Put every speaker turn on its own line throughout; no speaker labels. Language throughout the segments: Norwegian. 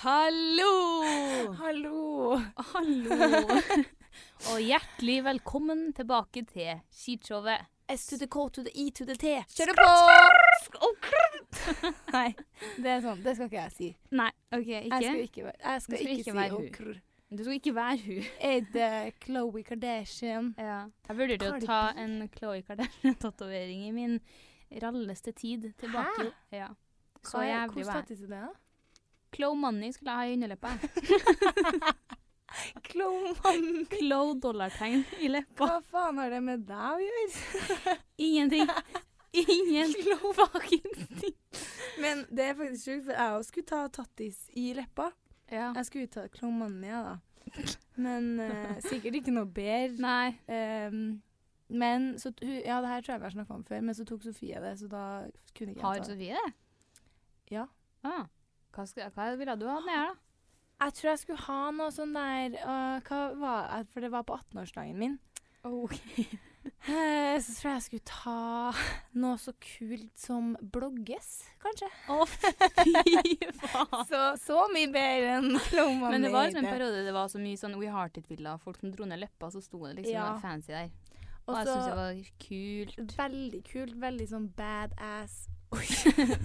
Hallo!
Hallo!
Hallo! Og hjertelig velkommen tilbake til skishowet.
S to the K to the
E
I to the T.
Kjør på!
Nei, det er sånn. Det skal ikke jeg si.
Nei, OK,
Jeg skal
ikke?
ikke, være- jeg skal
Du skal
ikke,
ikke
si
være hun.
okrr.
Du skal ikke være hun.
Er det Khloe Kardashian?
Ja. Jeg vurderte å
Cardi
ta
B.
en Chloé Kardashian-tatovering i min ralleste tid tilbake. Ja. Så
Hva er-
jævlig
Hvordan
var jeg.
tatt du det? da?
Chloe Money skulle jeg ha i underleppa. jeg.
Khloe Mann.
Chloe dollartegn i leppa.
Hva faen har det med deg å gjøre?
Ingenting. Ingen fuckings ting.
Men det er faktisk sjukt, for jeg også skulle ta tattis i leppa.
Ja.
Jeg skulle ta Khloe Mann, ja da. Men eh, sikkert ikke noe bedre.
Nei.
Ehm, men så t- hun, Ja, det her tror jeg vi har snakka om før, men så tok Sofie det, så da kunne ikke
Har
jeg ta det.
Sofie det?
Ja.
Ah. Hva, skal, hva ville du ha med her, da?
Jeg tror jeg skulle ha noe sånn der øh, Hva var jeg- For det var på 18-årsdagen min. Oh. Eh, så tror jeg jeg skulle ta noe så kult som blogges, kanskje.
Å, fy faen!
Så, så mye bedre enn Klomani.
Men det var liksom en periode det var så mye sånn We Hearted-bilder. Folk som dro ned leppa, så sto det liksom
Ja.
noe fancy der. Og
Og
jeg syntes det
så
var kult.
veldig kult, veldig sånn badass. Oi.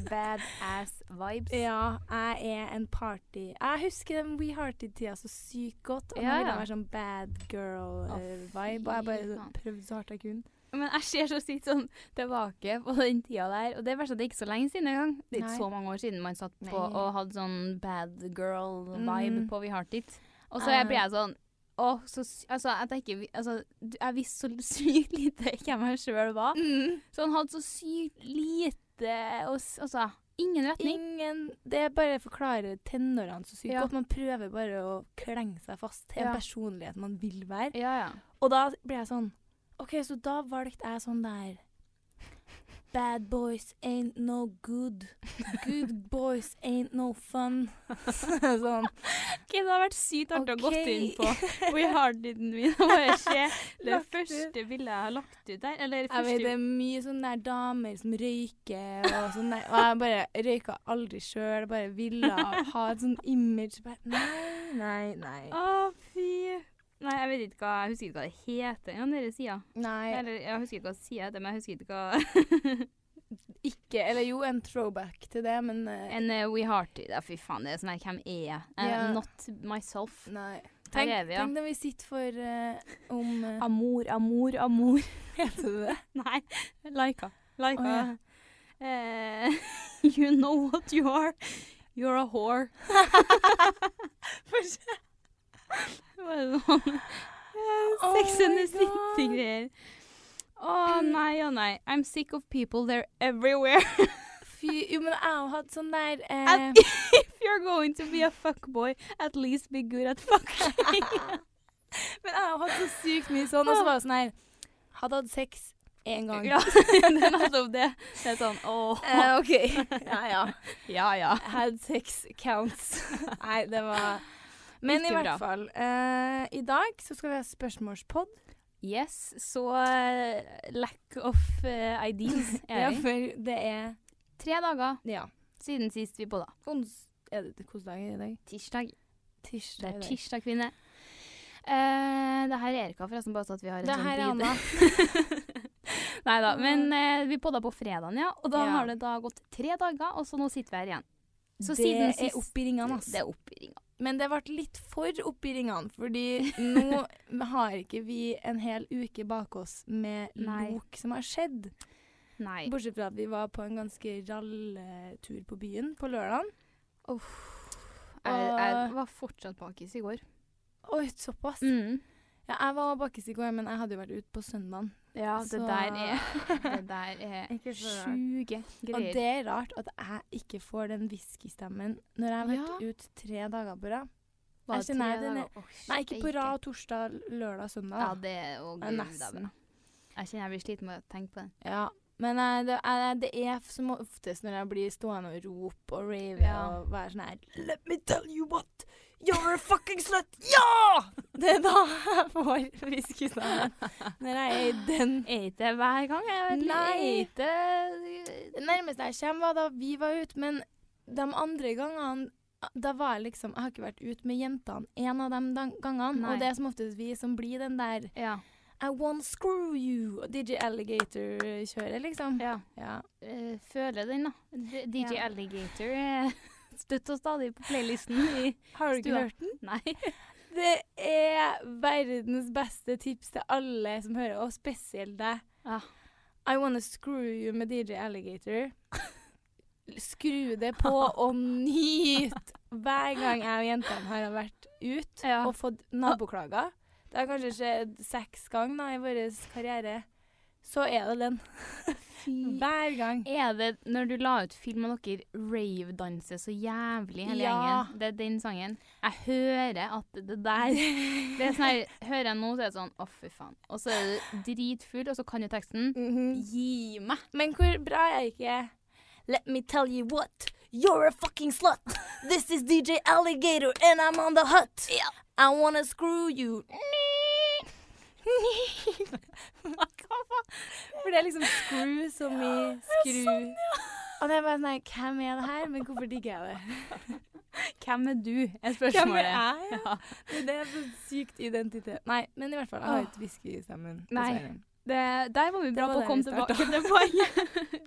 Badass vibes.
Ja, jeg er en party Jeg husker den We Hearted-tida så sykt godt. Og
Ja,
nå ville
ja.
jeg være sånn bad
Å,
girl-vibe. og
fy
jeg bare
faen.
prøvde så hardt jeg kunne.
Men jeg ser så sykt sånn tilbake på den tida der. Og det er verst at det er ikke så lenge siden engang. Det er
Nei.
ikke så mange år siden man satt på
Nei.
og hadde sånn bad girl-vibe
Mhm.
på We Hearted. Og så jeg
Eh.
blir jeg sånn Å, så sy- Altså, jeg tenker vi- Altså, du- jeg visste så sykt lite hvem jeg sjøl var.
Mm.
Så han hadde så sykt lite og, s- Altså, ingen retning.
Ingen Det bare forklarer tenårene så sykt
Ja.
godt. Man prøver bare å klenge seg fast til en
Ja.
personlighet man vil være.
Ja, ja.
Og da ble jeg sånn OK, så da valgte jeg sånn der Bad boys ain't no good. Good boys ain't no fun. sånn.
Ok, Det har vært sykt artig å gått
Ok.
inn på We Hearted-en min og bare se det
Lagt ut.
første bildet jeg har lagt ut der. Eller
Jeg vet det
første
er mye sånne der damer som røyker og sånn der. Og jeg bare røyka aldri sjøl, bare ville ha et sånn image. Bare, nei, nei, nei.
Å, fy. Nei, jeg vet ikke hva Jeg husker ikke hva det heter. Ja, nede sida.
Nei,
Eller jeg husker ikke hva sida heter, men jeg husker ikke hva
ikke Eller jo, en throwback til det, men eh,
En eh, We Hearted Ja, fy faen, det er sånn her Hvem er jeg? Eh,
Ja.
Not myself. Her
Nei. Tenk,
er vi, ja.
tenk når vi sitter for eh, om eh,
Amor, amor, amor.
Heter det det?
Nei. Laika. Laika.
Å,
Eh, you know what you are. You're a whore. Bare sånn
Oh
Sex and the
my God.
City-greier. Å nei, å nei. I'm sick of people, they're everywhere.
Fy Jo, men jeg har hatt sånn der eh,
At- If you're going to be a fuckboy, at least be good at fucking.
Men jeg har hatt så sykt mye sånn, og så var det sånn her Hadde hatt sex én gang.
ja, det er nettopp det. Det er sånn åh.
Eh, OK. Ja, ja.
Ja, ja.
Had sex counts. Nei, det var Men
Ikke
i hvert
bra.
fall. eh, I dag så skal vi ha spørsmålspod.
Yes, så eh, lack of eh, ideas
Ja,
er vi.
for det er
Tre dager
Ja.
siden sist vi podda.
Ons er det hvilken dag er det i dag?
Tirsdag. Det
Tirsdag.
er
i dag.
tirsdag, kvinne. Eh, det her er Erika, forresten, bare så at vi har en
Det her er
sånn
Anna.
Nei da. Men eh, vi podda på fredagen, ja. Og da
Ja.
har det da gått tre dager, og så nå sitter vi her igjen. Så
det
siden
er
sist
opp i ringene, ass.
Det er opp i ringa.
Men det ble litt for opp i ringene, fordi nå har ikke vi en hel uke bak oss med
Nei.
lok som har skjedd.
Nei.
Bortsett fra at vi var på en ganske ralletur på byen på lørdagen.
Jeg, jeg
Og-
var fortsatt bakis i går.
Oi, såpass.
Mm.
Ja, jeg var bakkes i går, men jeg hadde jo vært ute på søndagen.
Ja, det
Så-
der er Det der
Ikke
er
så rart.
sjuke
Og
greier.
det er rart at jeg ikke får den whiskystemmen når jeg har vært ute tre dager på rad.
Var
jeg kjenner
tre
den er-
dager? Åh,
Nei, ikke på
steike.
rad torsdag, lørdag, søndag.
Ja,
da.
det er å, gud,
Ja,
Ah. det er
nesten.
bra. Jeg kjenner jeg blir sliten med å tenke på den.
Ja. Men eh, det, eh, det er som oftest når jeg blir stående og rope og rave
Ja.
og være sånn her Let me tell you what! You're a fucking slut! Ja! Det er da jeg får whiskystemmen. Når jeg er i den.
Er ikke det hver gang? Jeg vet ikke.
Nei.
Er ikke eh,
Det nærmeste jeg kommer, var da vi var ute, men de andre gangene da var jeg liksom Jeg har ikke vært ute med jentene en av de dan- gangene.
Nei.
Og det er som oftest vi som blir den der
Ja.
I won't screw you, DJ Alligator-kjøret, liksom.
ja.
Ja.
Eh, føler den, da. D- DJ
Ja.
Alligator er støtt og stadig på playlisten i
Har du
Stua.
ikke hørt den?
Nei.
Det er verdens beste tips til alle som hører, og spesielt deg.
Ja.
I wanna screw you med DJ Alligator. Skru det på og nyt! Hver gang jeg og jentene har vært ute
Ja.
og fått naboklager, det har kanskje skjedd seks ganger da i vår karriere, så er det den. Hver gang.
Er det når du la ut film og dere rave-danser så jævlig hele
Ja.
gjengen? Det er den sangen. Jeg hører at det der det er sånn her, Hører jeg nå, så er det sånn Å, fy faen. Og så er du dritfull, og så kan du teksten. Gi meg!
Men hvor bra jeg ikke er. Let me tell you what. You're a fucking slut. This is DJ Alligator, and I'm on the hut. I wanna screw you. Hva faen? For det er liksom screw som i skru.
sånn,
Og det er bare sånn her, Hvem er det her? Men hvorfor digger jeg det?
Hvem er du? er
Hvem er
spørsmålet.
jeg?
Ja.
Det er så sykt identitet. Nei, men i hvert fall, jeg har ikke whisky i stemmen.
Nei.
dessverre.
Det, der var vi bra
var
på å
der
komme
vi startet.
tilbake til poenget.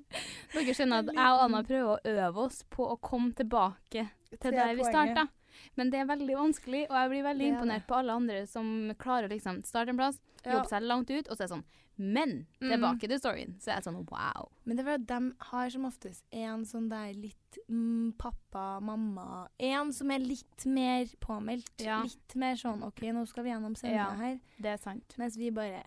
Dere skjønner at
En
jeg og Anna prøver å øve oss på å komme tilbake til
Til
der vi
poenget.
starta. Men det er veldig vanskelig, og jeg blir veldig
Det er
imponert på alle andre som klarer å liksom starte en plass,
Ja.
jobbe seg langt ut, og så er det sånn Men
Mm.
tilbake til storyen. Så er jeg sånn wow.
Men det var at de har som oftest en sånn der litt mm, pappa, mamma En som er litt mer påmeldt.
Ja.
Litt mer sånn OK, nå skal vi gjennom sendinga
Ja.
her.
Det er sant.
Mens vi bare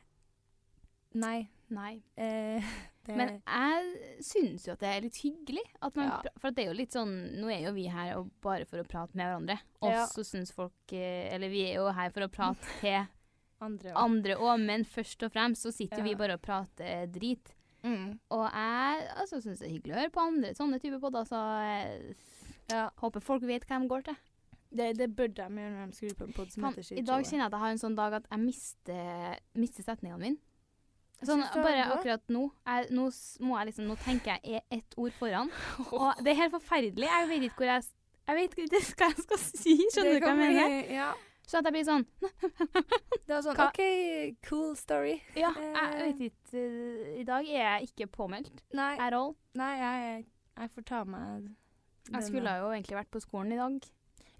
Nei.
Nei.
Eh, det,
Men jeg syns jo at det er litt hyggelig. At man,
Ja.
pra- For at det er jo litt sånn Nå er jo vi her og bare for å prate med hverandre. Og
Ja.
så syns folk eh, Eller vi er jo her for å prate til
andre også.
andre òg, men først og fremst så sitter
Ja.
vi bare og prater drit.
Mm.
Og jeg altså, syns det er hyggelig å høre på andre sånne typer podder, så jeg
Ja.
håper folk vet hva de går til.
Det, det burde de gjøre når de skrur på en pod som
Faen,
heter
I dag
Skitshowet.
kjenner jeg at jeg har en sånn dag at jeg mister, mister setningene mine.
Jeg
Sånn,
synes du har
bare
det bra.
akkurat nå. Jeg, nå, s- må jeg liksom, nå tenker jeg er ett ord foran. Og det er helt forferdelig. Jeg vet ikke hvor jeg s- Jeg vet ikke hva jeg skal si. Skjønner du hva
Det
jeg
kan
mener?
bli- Ja.
Så at jeg blir sånn
Det var sånn
Hva-
OK, cool story.
Ja, jeg
Eh.
vet ikke. eh, I dag er jeg ikke påmeldt
Nei,
at all.
nei jeg, jeg får ta meg
Jeg skulle
eh,
jo egentlig vært på skolen i dag.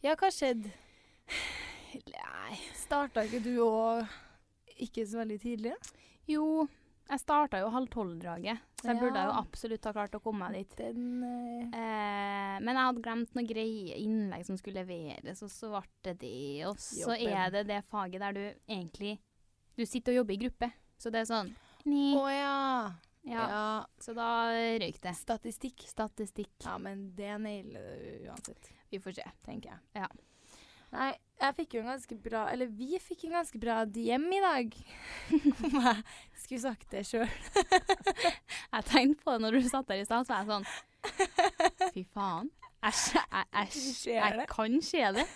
Ja, hva skjedde?
Nei.
Starta ikke du òg ikke så veldig tidlig?
Jo, jeg starta jo halv tolv-draget, så jeg
Ja.
burde jo absolutt ha klart å komme meg dit.
Den eh,
Eh, men jeg hadde glemt noen greie innlegg som skulle leveres, og så ble det det. Og så
Jobben.
er det det faget der du egentlig Du sitter og jobber i gruppe, så det er sånn
Å
Ni.
ja. ja.
Ja, så da røyk det.
Statistikk.
Statistikk.
Ja, men det nailer du uansett,
Vi får se.
tenker jeg.
Ja.
Nei, jeg fikk jo en ganske bra Eller vi fikk en ganske bra DM i dag. Om jeg skulle sagt det sjøl.
Jeg tenkte på det når du satt der i stad, så var jeg sånn Fy faen. Jeg, skje- jeg, jeg,
Skjer
jeg,
det?
kan se det.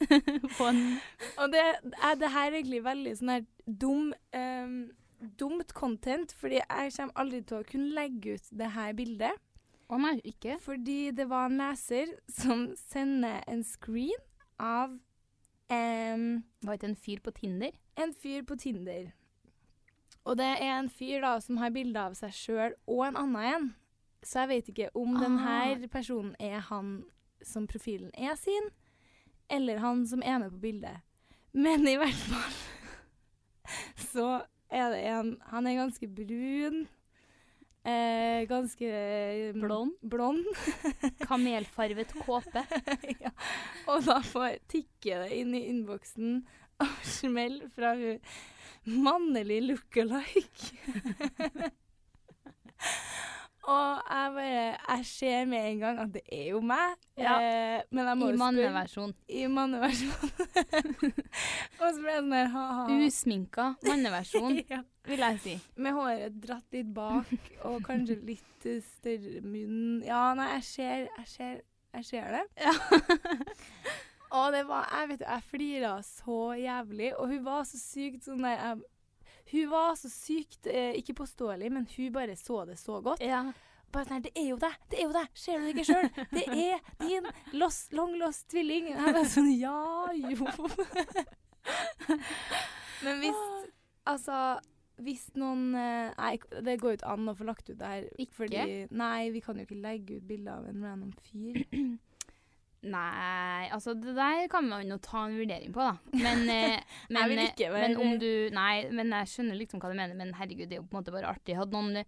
På en
Og det, er, det her er egentlig veldig sånn her dum ehm, Dumt content, fordi jeg kommer aldri til å kunne legge ut det her bildet.
Å nei, ikke?
Fordi det var en leser som sender en screen av em,
Var ikke en fyr på Tinder?
en fyr på Tinder. Og det er en fyr da som har bilde av seg sjøl og en annen en. Så jeg vet ikke om den her personen er han som profilen er sin, eller han som er med på bildet. Men i hvert fall så er det en Han er ganske brun. Eh, ganske em,
Blond?
blond.
Kamelfarvet kåpe?
ja. Og da får tikke det inn i innboksen av smell fra hun mannlig look-alike. og jeg bare Jeg ser med en gang at det er jo meg,
Ja.
eh, men jeg må
I
jo spørre
manneversjon.
I manneversjon. og så ble det sånn her ha-ha.
Usminka manneversjon,
Ja.
vil jeg si.
Med håret dratt litt bak og kanskje litt eh, større munn. Ja, nei, jeg ser, jeg ser, jeg ser det. Og det var, jeg vet jo, jeg flira så jævlig, og hun var så sykt sånn der jeg, Hun var så sykt eh, ikke påståelig, men hun bare så det så godt. Bare sånn her, det er jo deg! Det er jo deg! Ser du det ikke sjøl? Det er din lost, long lost tvilling! Og Jeg bare sånn Ja, jo. Men hvis Altså, hvis noen eh, Nei, det går jo ikke an å få lagt ut det her.
Ikke?
Fordi, nei, vi kan jo ikke legge ut bilde av en random fyr.
Nei, altså det der kan man jo ta en vurdering på, da. Men, eh, men,
Jeg vil ikke være-
men om du Nei, men jeg skjønner liksom hva du mener, men herregud, det er jo på en måte bare artig. Hadde noen,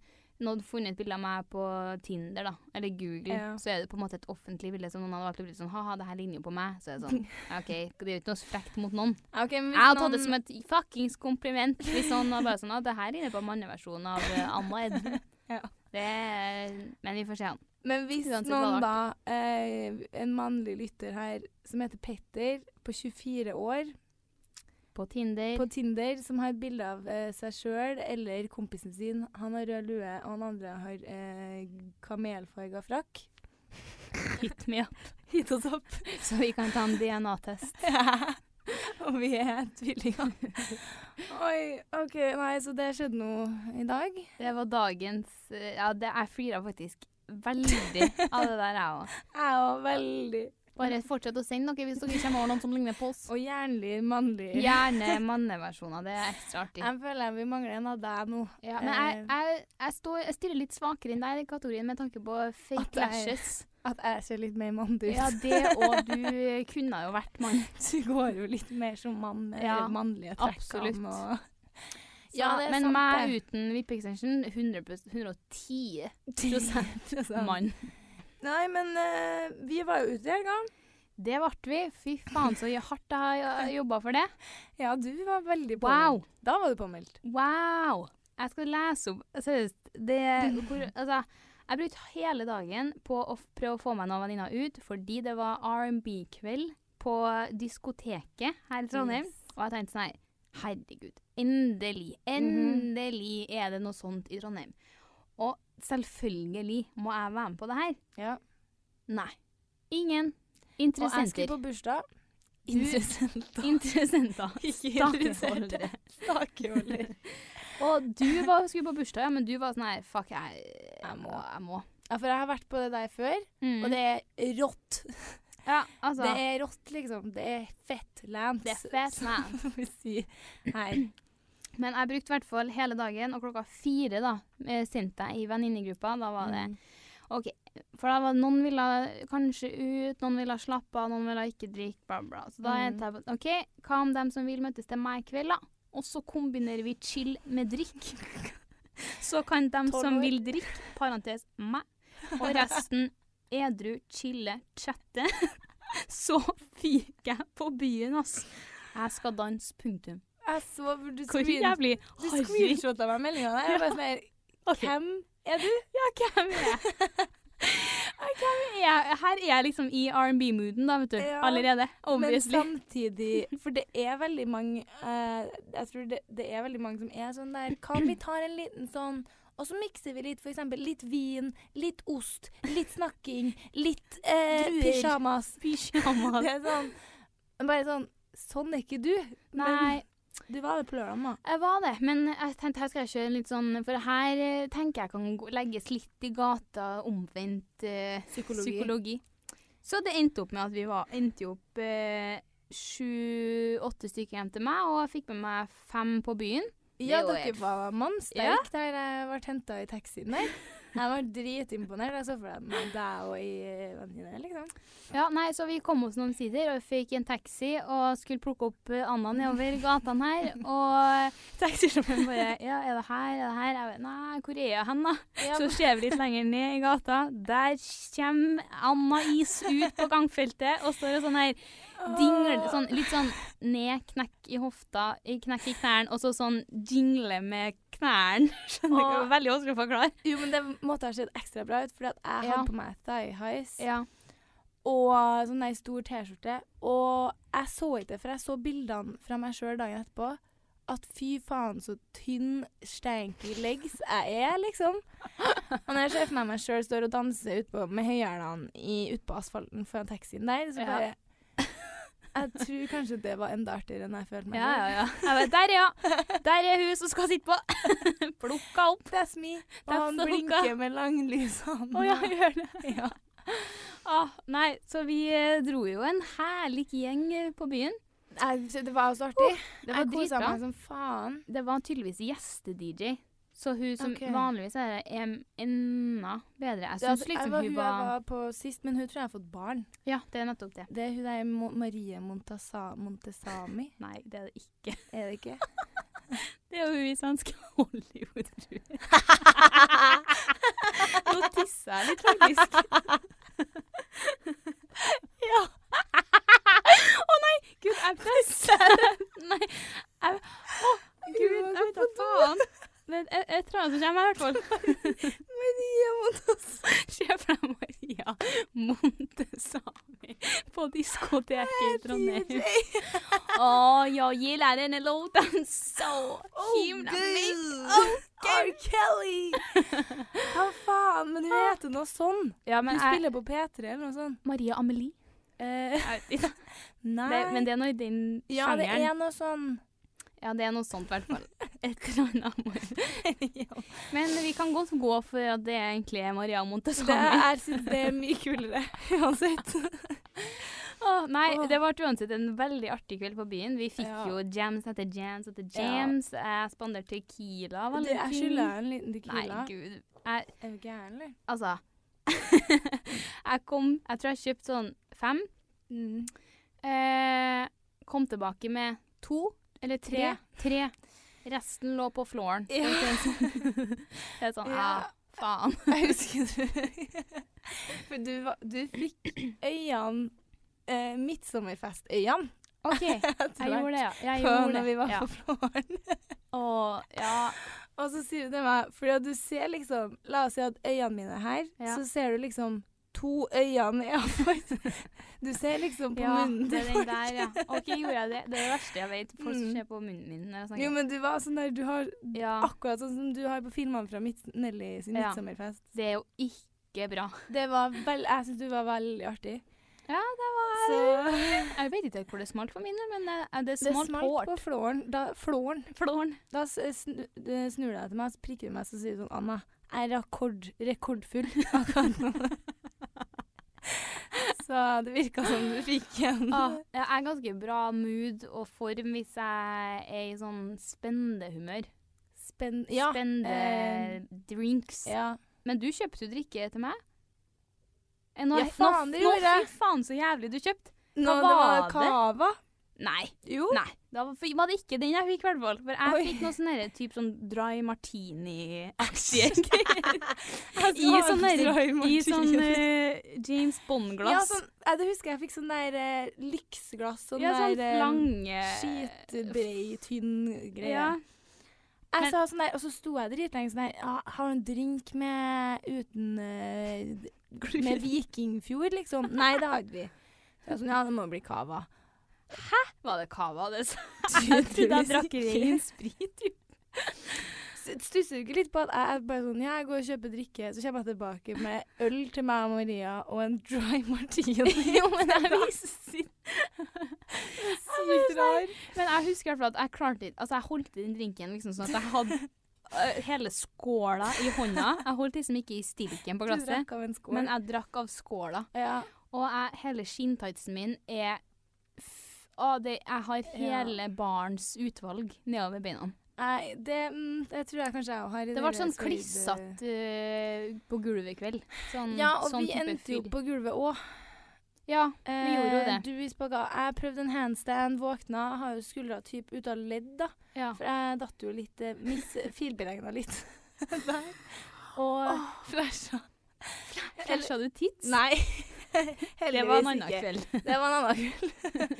noen funnet et bilde av meg på Tinder, da, eller Google,
Ja.
så er det på en måte et offentlig bilde som noen hadde valgt å bli sånn Ha-ha, det her ligner jo på meg. Så er det sånn ja, OK, det er jo ikke noe frekt mot noen.
Okay, men hvis
Jeg hadde tatt det
noen-
som et fuckings kompliment hvis noen var bare sånn Ja, det her ligner på manneversjonen av eh, Anna Edden.
Ja.
Det er, men vi får se han.
Men hvis
Uansett hva
noen
det
da, eh, en mannlig lytter her som heter Petter, på 24 år,
På Tinder.
på Tinder, som har et bilde av eh, seg sjøl eller kompisen sin Han har rød lue, og han andre har eh, kamelfarga frakk.
Hit me up,
Hit oss opp.
så vi kan ta en DNA-test.
og vi er tvillinger. Oi, OK. Nei, så det skjedde noe i dag.
Det var dagens eh, Ja, det jeg flira faktisk veldig av det der, jeg òg.
Jeg var veldig
Bare fortsett å sende noe hvis dere kommer over noen som ligner på oss.
Og jernlig mannlig.
Gjerne manneversjoner. Det er ekstra artig.
Jeg føler vi mangler en av deg nå.
Ja, men jeg, jeg, jeg, står, jeg stiller litt svakere enn deg i den kategorien med tanke på
At
fake
jeg-
lashes.
At jeg ser litt mer mann ut.
Ja, det og du kunne jo vært mann.
Du går jo litt mer som mann med
Ja,
mannlige trekkene.
absolutt.
Og...
Ja, men meg uten vippe-extension 110
mann.
mann.
Nei, men eh, vi var jo ute i helga.
Det ble vi. Fy faen så hardt jeg har jobba for det.
Ja, du var veldig påmeldt.
Wow.
Da var du påmeldt.
Wow! Jeg skal lese opp Seriøst. Det hvor, Altså, jeg brukte hele dagen på å f- prøve å få meg noen venninner ut, fordi det var R&B-kveld på diskoteket her i
Mm.
Trondheim. Og jeg tenkte sånn her Herregud. Endelig. Endelig er det noe sånt i Trondheim. Og selvfølgelig må jeg være med på det her.
Ja.
Nei. Ingen
Og jeg
interessenter.
skulle på bursdag.
Du-
Interessenter.
Interessenter.
Ikke
Stakkeholdere.
Stakeholder.
Og du var, skulle på bursdag, ja, men du var sånn her Fuck, jeg,
Jeg
jeg
må.
må. Jeg må.
Ja, for jeg har vært på det der før,
Mm.
og det er rått.
Ja, altså.
Det er rått, liksom. Det er fett lands.
Det er fett lands.
Som vi sier her.
Men jeg brukte i hvert fall hele dagen, og klokka fire da, eh, sendte jeg i venninnegruppa. Da var det OK. For da var det noen ville kanskje ut, noen ville slappe av, noen ville ikke drikke, bla, bla. Så da
Mm.
endte jeg på OK, hva om dem som vil møtes til meg i kveld, da? Og så kombinerer vi chill med drikk. Så kan dem
Tolv
som
år.
vil drikke, parentes meg, og resten edru, chille, chatte. Så fyker jeg på byen, ass. Jeg skal danse, punktum.
Jeg så du
Hvor jævlig
Du
harry.
screenshotta meg meldinga der. Jeg bare sånn her
Ok.
Hvem er du?
Hvem er jeg? Hvem er jeg? Her er jeg liksom i R&B-mooden da, vet du.
Ja.
Allerede. Obviously.
Men samtidig For det er veldig mange eh, Jeg tror det, det er veldig mange som er sånn der Kan vi ta en liten sånn og så mikser vi litt, for eksempel litt vin, litt ost, litt snakking, litt eh,
Druer.
pyjamas.
Pyjamas.
Det er sånn Bare sånn Sånn er ikke du.
Nei,
Men du var det på lørdag, da.
jeg var det. Men jeg tenkte her skal jeg kjøre litt sånn For her eh, tenker jeg kan gå- legges litt i gata omvendt eh,
Psykologi.
psykologi. Så det endte opp med at vi var, endte jo opp eh, sju-åtte stykker hjem til meg, og jeg fikk med meg fem på byen.
Ja,
Det er jo
dere
helt
var
Ja.
mannsterke der jeg ble henta i taxien der. Jeg var dritimponert. Jeg så for meg deg og ei venninne, liksom.
Ja, nei, så vi kom oss noen sider og fikk en taxi og skulle plukke opp eh, Anna nedover gatene her. Og taxisjåføren bare Ja, er det her? Er det her? Jeg bare, Nei, hvor er jeg hen, da? Så ser vi litt lenger ned i gata. Der kommer Anna Is ut på gangfeltet og står og sånn her dingler sånn, Litt sånn ned, knekk i hofta, i- knekk i knærne, og så sånn jingle med knærne. Skjønner ikke,
Åh.
veldig vanskelig å forklare.
Jo, men det måtte ha sett ekstra bra ut, fordi at jeg
Ja.
hadde på meg thigh highs
Ja.
og sånn ei stor T-skjorte. Og jeg så ikke det, for jeg så bildene fra meg sjøl dagen etterpå. At fy faen, så tynn, stanky legs jeg er, liksom. Og når jeg ser for meg meg sjøl står og danser utpå med høyhælene i- utpå asfalten foran taxien der, så
Ja.
bare Jeg tror kanskje det var enda artigere enn jeg følte meg.
Ja, ja, ja. Jeg vet, der, ja. Der er hun som skal sitte på. Plukka opp.
selv. That's me. Og
That's
han
the
blinker
hookah.
med langlysene.
Å ja, gjør det.
Ja.
Ah, nei, så vi eh, dro jo en herlig gjeng eh, på byen.
Nei, så det var jo så artig.
det
jeg
var
kosa
dritbra.
meg som faen.
Det var tydeligvis gjeste-DJ. Så hun som
Ok.
vanligvis er em- enda bedre. Jeg
Det var-
syns
jeg
liksom
var
hun
hun jeg
var
var på sist, men hun tror jeg har fått barn.
Ja, det er nettopp det.
Det er hun der Mo Marie Montasa Montesami,
Nei, det er det ikke.
er det ikke?
Det er jo hun i svenske Hollywood, tror jeg. Nå tisser jeg litt, faktisk. ja. Å nei! Gud, jeg presser Nei. Jeg, å, gud, jeg vet da faen. Det er et eller annet som kommer, i hvert fall.
Marie Montasa
Se for deg Maria Montesami på diskoteket i Trondheim. Å, jeg gillar denne låten så himla mye.
Oh, R. Kelly! Hva faen? Men hun heter noe sånn.
Ja, men
Hun
jeg,
spiller på P3 eller noe sånt.
Maria Amelie.
Eh,
Det,
nei
men det er noe i den
Ja, det
sjangeren.
er noe sånn.
Ja, det er noe sånt i hvert fall. Et eller annet. må- Men vi kan godt gå for at det er egentlig er Maria
Det
Montesami.
er, jeg synes det er mye kulere uansett.
Åh, nei,
Åh.
det ble uansett en veldig artig kveld på byen. Vi fikk
Ja.
jo jams etter jams etter
Ja.
jams. Jeg spanderte tequila.
Det, jeg skylder deg en liten
Nei,
tequila.
gud. Jeg,
Er du gæren, eller?
altså Jeg kom Jeg tror jeg kjøpte sånn fem. Mm. Eh, kom tilbake med to eller tre. Tre. Resten lå på flooren.
Ja.
Det er sånn
Ja.
ah, faen.
Jeg husker det. For du, var- du fikk øynene eh, Midtsommerfestøynene.
OK, jeg
Jeg
gjorde det, ja. Jeg
På,
gjorde det.
når vi var
ja.
på Flåren.
Og, ja.
Og så sier du til meg Fordi at du ser liksom La oss si at øynene mine er her.
Ja.
Så ser du liksom to øyne i øynene. Du ser liksom på
ja,
munnen
det er
til
den
folk.
der, ja. OK, gjorde jeg det? Det er det verste jeg vet. Folk som
Mm.
ser på munnen min når jeg
Jo,
snakker.
men du var sånn der Du har
Ja,
akkurat sånn som du har på filmene fra Midt Nelly sin
Ja.
midtsommerfest.
det er jo ikke bra.
Det var vel Jeg syns du var veldig artig.
Ja, det var
Så
Jeg vet ikke helt hvor det smalt for min del, men eh, det
det
smalt
smalt
hårdt.
på flåren. Da, flåren.
Flåren.
da s- snu, eh, snur du deg til meg, så prikker du meg, så sier du sånn Anna, jeg er rekord, rekordfull akkurat nå. så det virka som du fikk en
Ah, jeg er ganske bra mood og form hvis jeg er i sånn spendehumør.
spenn... Ja.
Spende
eh,
drinks.
ja.
Men du kjøpte jo drikke til meg. Eh, Nå,
Ja, faen, det
nå,
gjorde jeg.
Fy faen, så jævlig du kjøpte.
Nå det
var
var cava.
Nei.
Jo.
Nei, da var f- var det ikke den jeg fikk, i hvert fall. For jeg
Oi.
fikk noe sånn derre type sånn dry martini-aktige greier. I
smaker
sånn derre-
dry
I
martini.
sånn eh, James
Ja,
Bond-glass.
sånn, ja, det husker jeg fikk sånn der eh, lyksglass, sånn,
Ja, sånn
der eh,
lange
skitbrei, tynn greie.
Ja.
Jeg
Men-
sa sånn der, og så sto jeg dritlenge sånn der ja, Har du en drink med uten eh, d- Med Vikingfjord, liksom? Nei, det har ikke vi. Så jeg sånn, ja, det må bli cava.
Var det cava? Det sa jeg.
Tydeligvis
trodde jeg drakk
ikke.
ren sprit. jo.
S- Stusser du ikke litt på at jeg er bare sånn Ja, jeg går og kjøper drikke, så kommer jeg tilbake med øl til meg og Maria og en dry martini.
jo, men jeg visste ikke.
Sykt rar.
Men jeg husker i hvert fall at jeg klarte ikke Altså, jeg holdt i den drinken liksom sånn at jeg hadde eh, hele skåla i hånda. Jeg holdt liksom ikke i stilken på
Du
glasset,
drakk av en skål.
men jeg drakk av skåla.
ja.
Og jeg, hele skinntightsen min er f å, det, Jeg har
Ja.
hele barns utvalg nedover beina.
Nei, det, mm, det tror jeg kanskje jeg også har. i
Det ble
der
sånn
skøyd-
klissete eh, på gulvet i kveld. Sånn,
Ja, og
sånn
vi
type
endte jo
fyr.
på gulvet òg.
Ja, vi gjorde jo det.
Eh, Du i spagat. Jeg prøvde en handstand, våkna, har jo skuldra typ ut av ledd, da.
ja.
For jeg datt jo litt eh, Miss filberegna litt der. Og flasha.
Flasha du tits?
Nei.
det var en annen kveld.
Det var en annen kveld.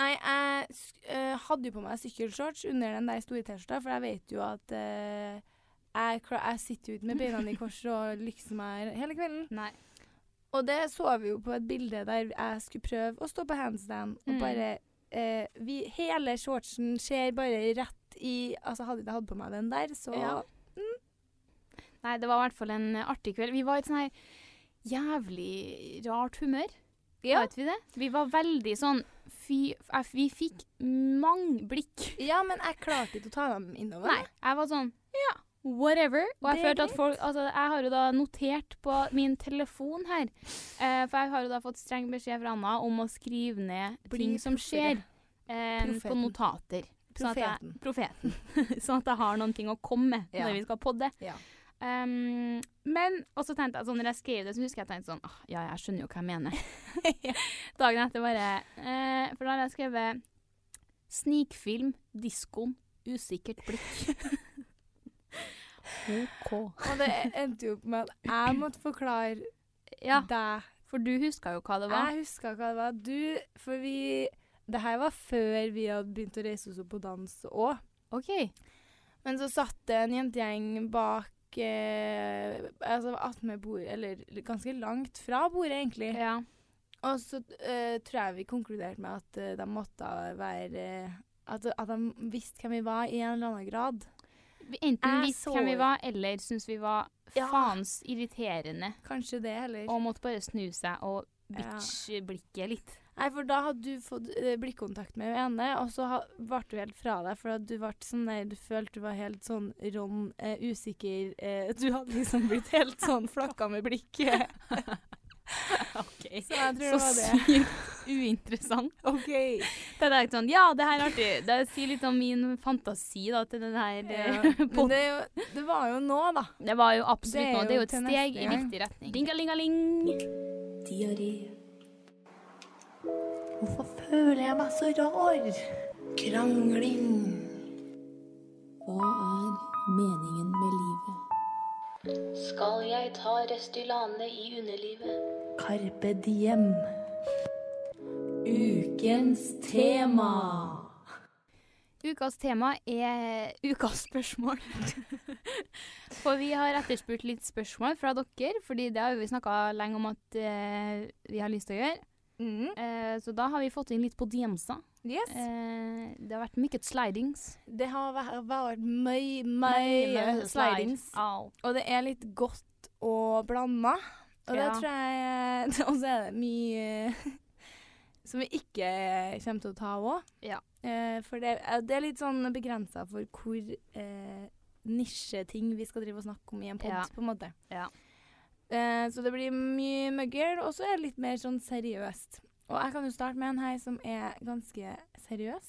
Nei, jeg sk- eh, hadde jo på meg sykkelshorts under den der store T-skjorta, for jeg vet jo at eh, jeg, kla- jeg sitter jo ikke med beina i kors og lykser meg hele kvelden.
Nei.
Og det så vi jo på et bilde der jeg skulle prøve å stå på handstand, og
Mm.
bare eh, vi, Hele shortsen ser bare rett i Altså, hadde jeg ikke hatt på meg den der, så
Ja. Nei, det var i hvert fall en eh, artig kveld. Vi var i et sånn her jævlig rart humør.
Ja.
Vet vi det? Vi var veldig sånn fy, eh, Vi fikk mange blikk.
Ja, men jeg klarte ikke å ta dem innover.
Nei, jeg var sånn Ja, whatever. Og jeg
Det er
følte at folk Altså, jeg har jo da notert på min telefon her eh, For jeg har jo da fått streng beskjed fra Anna om å skrive ned
Bli
ting som
proffere.
skjer eh, på
Profeten.
notater. Sånn at jeg-
Profeten.
profeten. sånn at jeg har noen ting å komme med
Ja.
når vi skal podde.
Ja.
Um, men og så tenkte jeg sånn, når jeg skrev det, så husker jeg jeg tenkte sånn ah, Ja, jeg skjønner jo hva jeg mener. Dagen etter bare eh, For da hadde jeg skrevet 'Snikfilm. Diskoen. Usikkert blikk'. OK.
Og det endte jo opp med at jeg måtte forklare
Ja,
deg.
for du huska jo hva det var.
Jeg huska hva det var. Du, for vi Det her var før vi hadde begynt å reise oss opp på dans òg.
OK.
Men så satt det en jentegjeng bak eh, Altså attmed bordet, eller ganske langt fra bordet, egentlig.
Ja.
Og så eh, tror jeg vi konkluderte med at eh, de måtte være eh, at, at de visste hvem vi var i en eller annen grad.
Vi Enten
Jeg
visste
så-
hvem vi var, eller syntes vi var
Ja.
faens irriterende
Kanskje det heller.
og måtte bare snu seg og
Ja.
bitch-blikket litt.
Nei, for da hadde du fått eh, blikkontakt med hun ene, og så ha, ble du helt fra deg. For at du ble sånn der, du følte du var helt sånn rom, eh, usikker eh, Du hadde liksom blitt helt sånn flakka med blikket.
Okay.
Så jeg
Så
tror det var det.
sykt uinteressant.
OK.
Det er ikke sånn, ja, det her er artig. Det sier litt om min fantasi da, til den her eh,
Men
podden.
det, er jo- det var jo nå, da.
Det var jo absolutt
det er
noe. Det er
jo
jo et
til
steg
neste
i
gang.
riktig retning. Dingalingaling.
Diaré. Hvorfor føler jeg meg så rar? Krangling. Hva er meningen med livet?
Skal jeg ta Restylane i underlivet?
Carpe diem. Ukens tema.
Ukas tema er ukas spørsmål. For vi har etterspurt litt spørsmål fra dere, fordi det har jo vi snakka lenge om at eh, vi har lyst til å gjøre. Eh, så da har vi fått inn litt på DMs-a.
Mm, Yes.
Eh, det har vært mye slidings.
Det har vært, vært mye, mye eh, slidings.
Au.
Og det er litt godt og blanda. Og
Ja.
det tror jeg Og så er det mye som vi ikke kommer til å ta òg.
Ja.
for det, eh, det er litt sånn begrensa for hvor eh, nisjeting vi skal drive og snakke om i en pod,
Ja.
på en måte.
Ja.
Eh, så det blir mye møggel, og så er det litt mer sånn seriøst. Og jeg kan jo starte med en her som er ganske seriøs.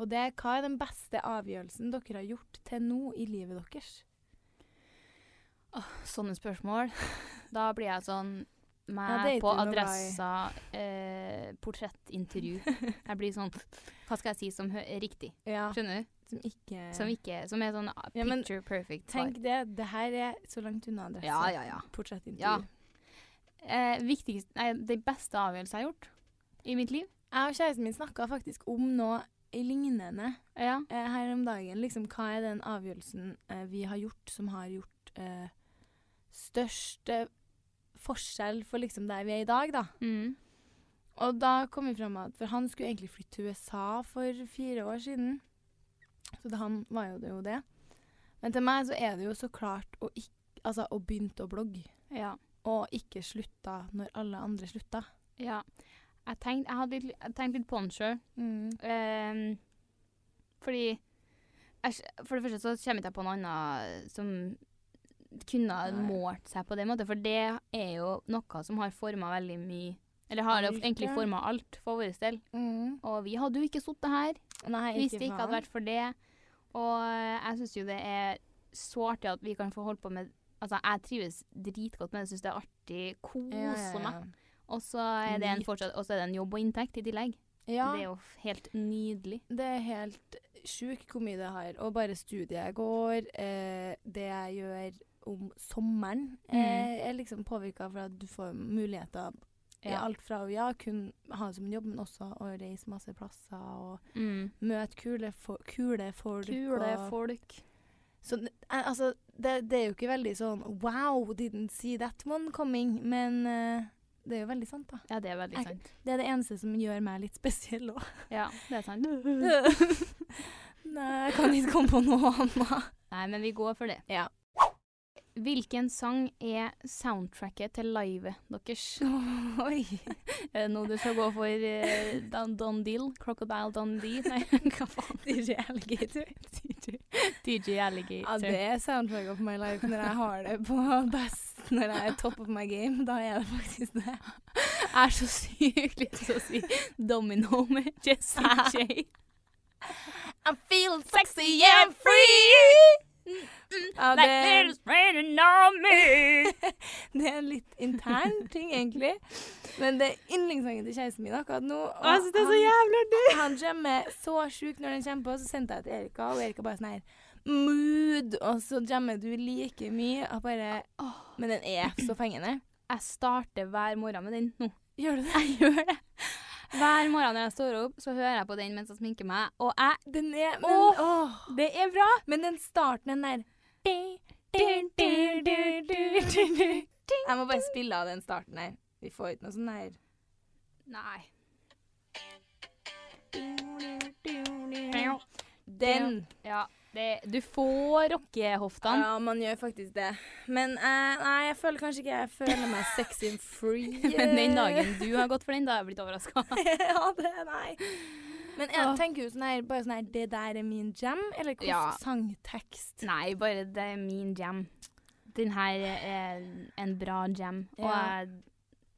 Og det er hva er den beste avgjørelsen dere har gjort til nå i livet deres?
Sånne spørsmål. Da blir jeg sånn meg
Ja, det er ikke
på
noe
adressa eh, portrettintervju. Jeg blir sånn Hva skal jeg si som hø er riktig?
Ja.
Skjønner du?
Som ikke
Som, ikke, som er sånn ah,
Ja, men
picture perfect. svar.
Tenk altså. det. Det her er så langt unna adresse.
Ja, ja, ja.
Portrettintervju.
Ja. Eh, viktigst, nei, den beste avgjørelsen jeg har gjort i mitt liv.
Jeg og kjæresten min snakka faktisk om noe lignende
Ja.
eh, her om dagen. Liksom, hva er den avgjørelsen eh, vi har gjort som har gjort eh, størst eh, forskjell for liksom der vi er i dag, da?
Mm.
Og da kom vi fram at For han skulle egentlig flytte til USA for fire år siden. Så det, han var jo det, jo det. Men til meg så er det jo så klart å, ikk- altså, å begynne å blogge.
ja.
Og ikke slutta når alle andre slutta.
Ja. Jeg tenkte, jeg hadde litt, jeg tenkte litt på den sjøl.
Mm,
Ehm, fordi jeg, skj- For det første så kommer ikke jeg på noe annet som kunne ha
Nei.
målt seg på den måten, for det er jo noe som har forma veldig mye Eller har jo
Alt,
egentlig
ja.
forma alt for vår del. Og vi hadde jo ikke sittet her
mm. Nei,
hvis det ikke hadde vært for det. Og eh, jeg syns jo det er så artig at vi kan få holde på med Altså, jeg trives dritgodt med det, syns det er artig, koser meg. Og så er det en
Nyt.
fortsatt, og så er det en jobb og inntekt i tillegg.
Ja,
Det er jo f- helt nydelig.
det er helt sjukt hvor mye det har. Og bare studiet jeg går, eh, det jeg gjør om sommeren,
Mm.
eh, er liksom påvirka for at du får muligheter i alt fra å ja, kun ha det som en jobb, men også å reise masse plasser og
Mm.
møte kule, fo kule folk. og-
folk.
Så, n- eh, altså, det, det er jo ikke veldig sånn Wow, didn't see that one coming. Men eh, det er jo veldig sant, da.
Ja, det er veldig
Jeg-
sant.
Det er det eneste som gjør meg litt spesiell òg.
Ja, det er sant. Nei,
Mm. Nei, jeg kan ikke komme på noe annet.
men vi går for det. Hvilken sang er soundtracket til livet deres?
Oi.
Er det noe du skal gå for eh, Don, Don Deal? Crocodile Dundee? Nei, hva faen?
DJ Alligator.
DJ Alligator.
Ja, det er soundtrack of my life når jeg har det på best, når jeg er top of my game. Da er det faktisk det.
Jeg er så sykt lyst til å si Domino med Jessie J.
I'm feeling sexy and free! Mm, Ja,
Like
det,
it's raining on me.
det er en litt intern ting, egentlig. Men det er yndlingssangen til kjæresten min akkurat nå. og
Altså, det er så
han-
jævla dyrt.
Han jammer så sjukt når den kommer på, så sendte jeg til Erika, og Erika bare sånn her Mood! Og så jammer du like mye. Og bare Men den er så fengende.
Jeg starter hver morgen med den nå.
Gjør du det?
Jeg gjør det. Hver morgen når jeg står opp, så hører jeg på den mens jeg sminker meg. Og jeg
Den er Men,
Åh!
åh.
Det er bra!
men den starten, den der Jeg må bare spille av den starten her. Vi får ikke noe sånn her
Nei.
Den!
Ja, det, du får rockehoftene.
Ja, man gjør faktisk det. Men eh, nei, jeg føler kanskje ikke jeg føler meg sexy and free.
Men den dagen du har gått for den, da har jeg blitt overraska.
ja, det nei. Men jeg
Åh.
tenker jo sånn her, bare sånn her Det der er min jam, eller hvordan
Ja.
sangtekst?
Nei, bare det er min jam. Den her er en bra jam. Og
Ja.
er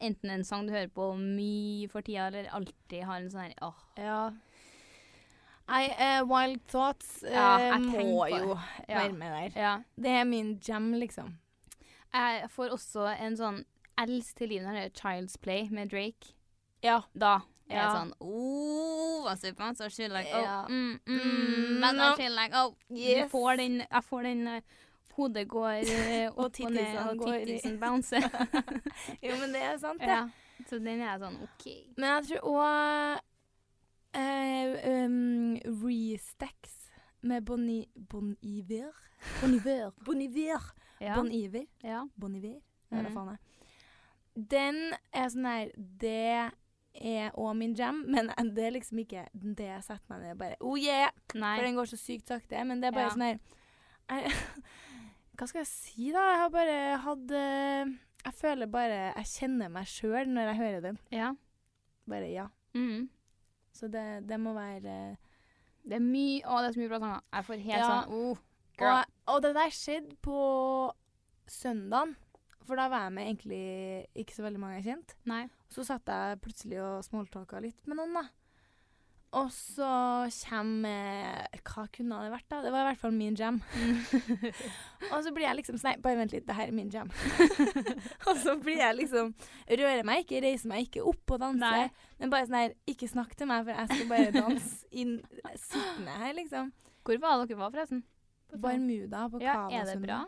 enten en sang du hører på mye for tida, eller alltid har en sånn her åh.
Ja. Nei, eh, Wild Thoughts eh,
Ja, jeg
må
tenker um, på det.
jo
Ja.
være med der.
Ja.
Det er min jam, liksom.
Jeg får også en sånn els til livet når det er Child's Play med Drake.
Ja.
Da er
Ja.
jeg sånn oh, hva super, so she like, oh,
Ja.
mm,
Mm,
mm, but
no.
she like, oh,
Yes.
du får den, jeg får den eh, Hodet går eh,
Og
opp og ned,
tittisene
og
går i-
tittisen bouncer.
Jo, men det er sant, det.
ja. Så den er jeg sånn OK.
Men jeg tror òg eh, um, Restex med Bon I- Bon Iver. Bon Iver. Bon Iver.
Ja.
Bon Iver.
ja.
Bon Iver. Hva
Mm.
faen er Den er sånn her Det er òg min jam, men det er liksom ikke det jeg setter meg ned og bare Oh yeah!
Nei.
For den går så sykt sakte. Men det er bare
Ja.
sånn her jeg, Hva skal jeg si, da? Jeg har bare hatt eh, Jeg føler bare Jeg kjenner meg sjøl når jeg hører den.
Ja.
Bare ja.
Mm.
Så det, det må være eh,
Det er mye Å, det er så mye bra sanger. Jeg får helt
Ja.
sånn oh, girl.
og, og det der skjedde på søndagen. For da var jeg med egentlig ikke så veldig mange jeg kjente.
Nei.
Så satt jeg plutselig og smalltalka litt med noen, da. Og så kommer Hva kunne det vært, da? Det var i hvert fall min jam. og så blir jeg liksom sånn Nei, bare vent litt, det her er min jam. og så blir jeg liksom Rører meg ikke, reiser meg ikke opp og danser.
Nei.
Men bare sånn her Ikke snakk til meg, for jeg skal bare danse inn sittende her, liksom.
Hvor var dere var, forresten? På sånn-
Barmuda på
ja,
Kava
er det bra?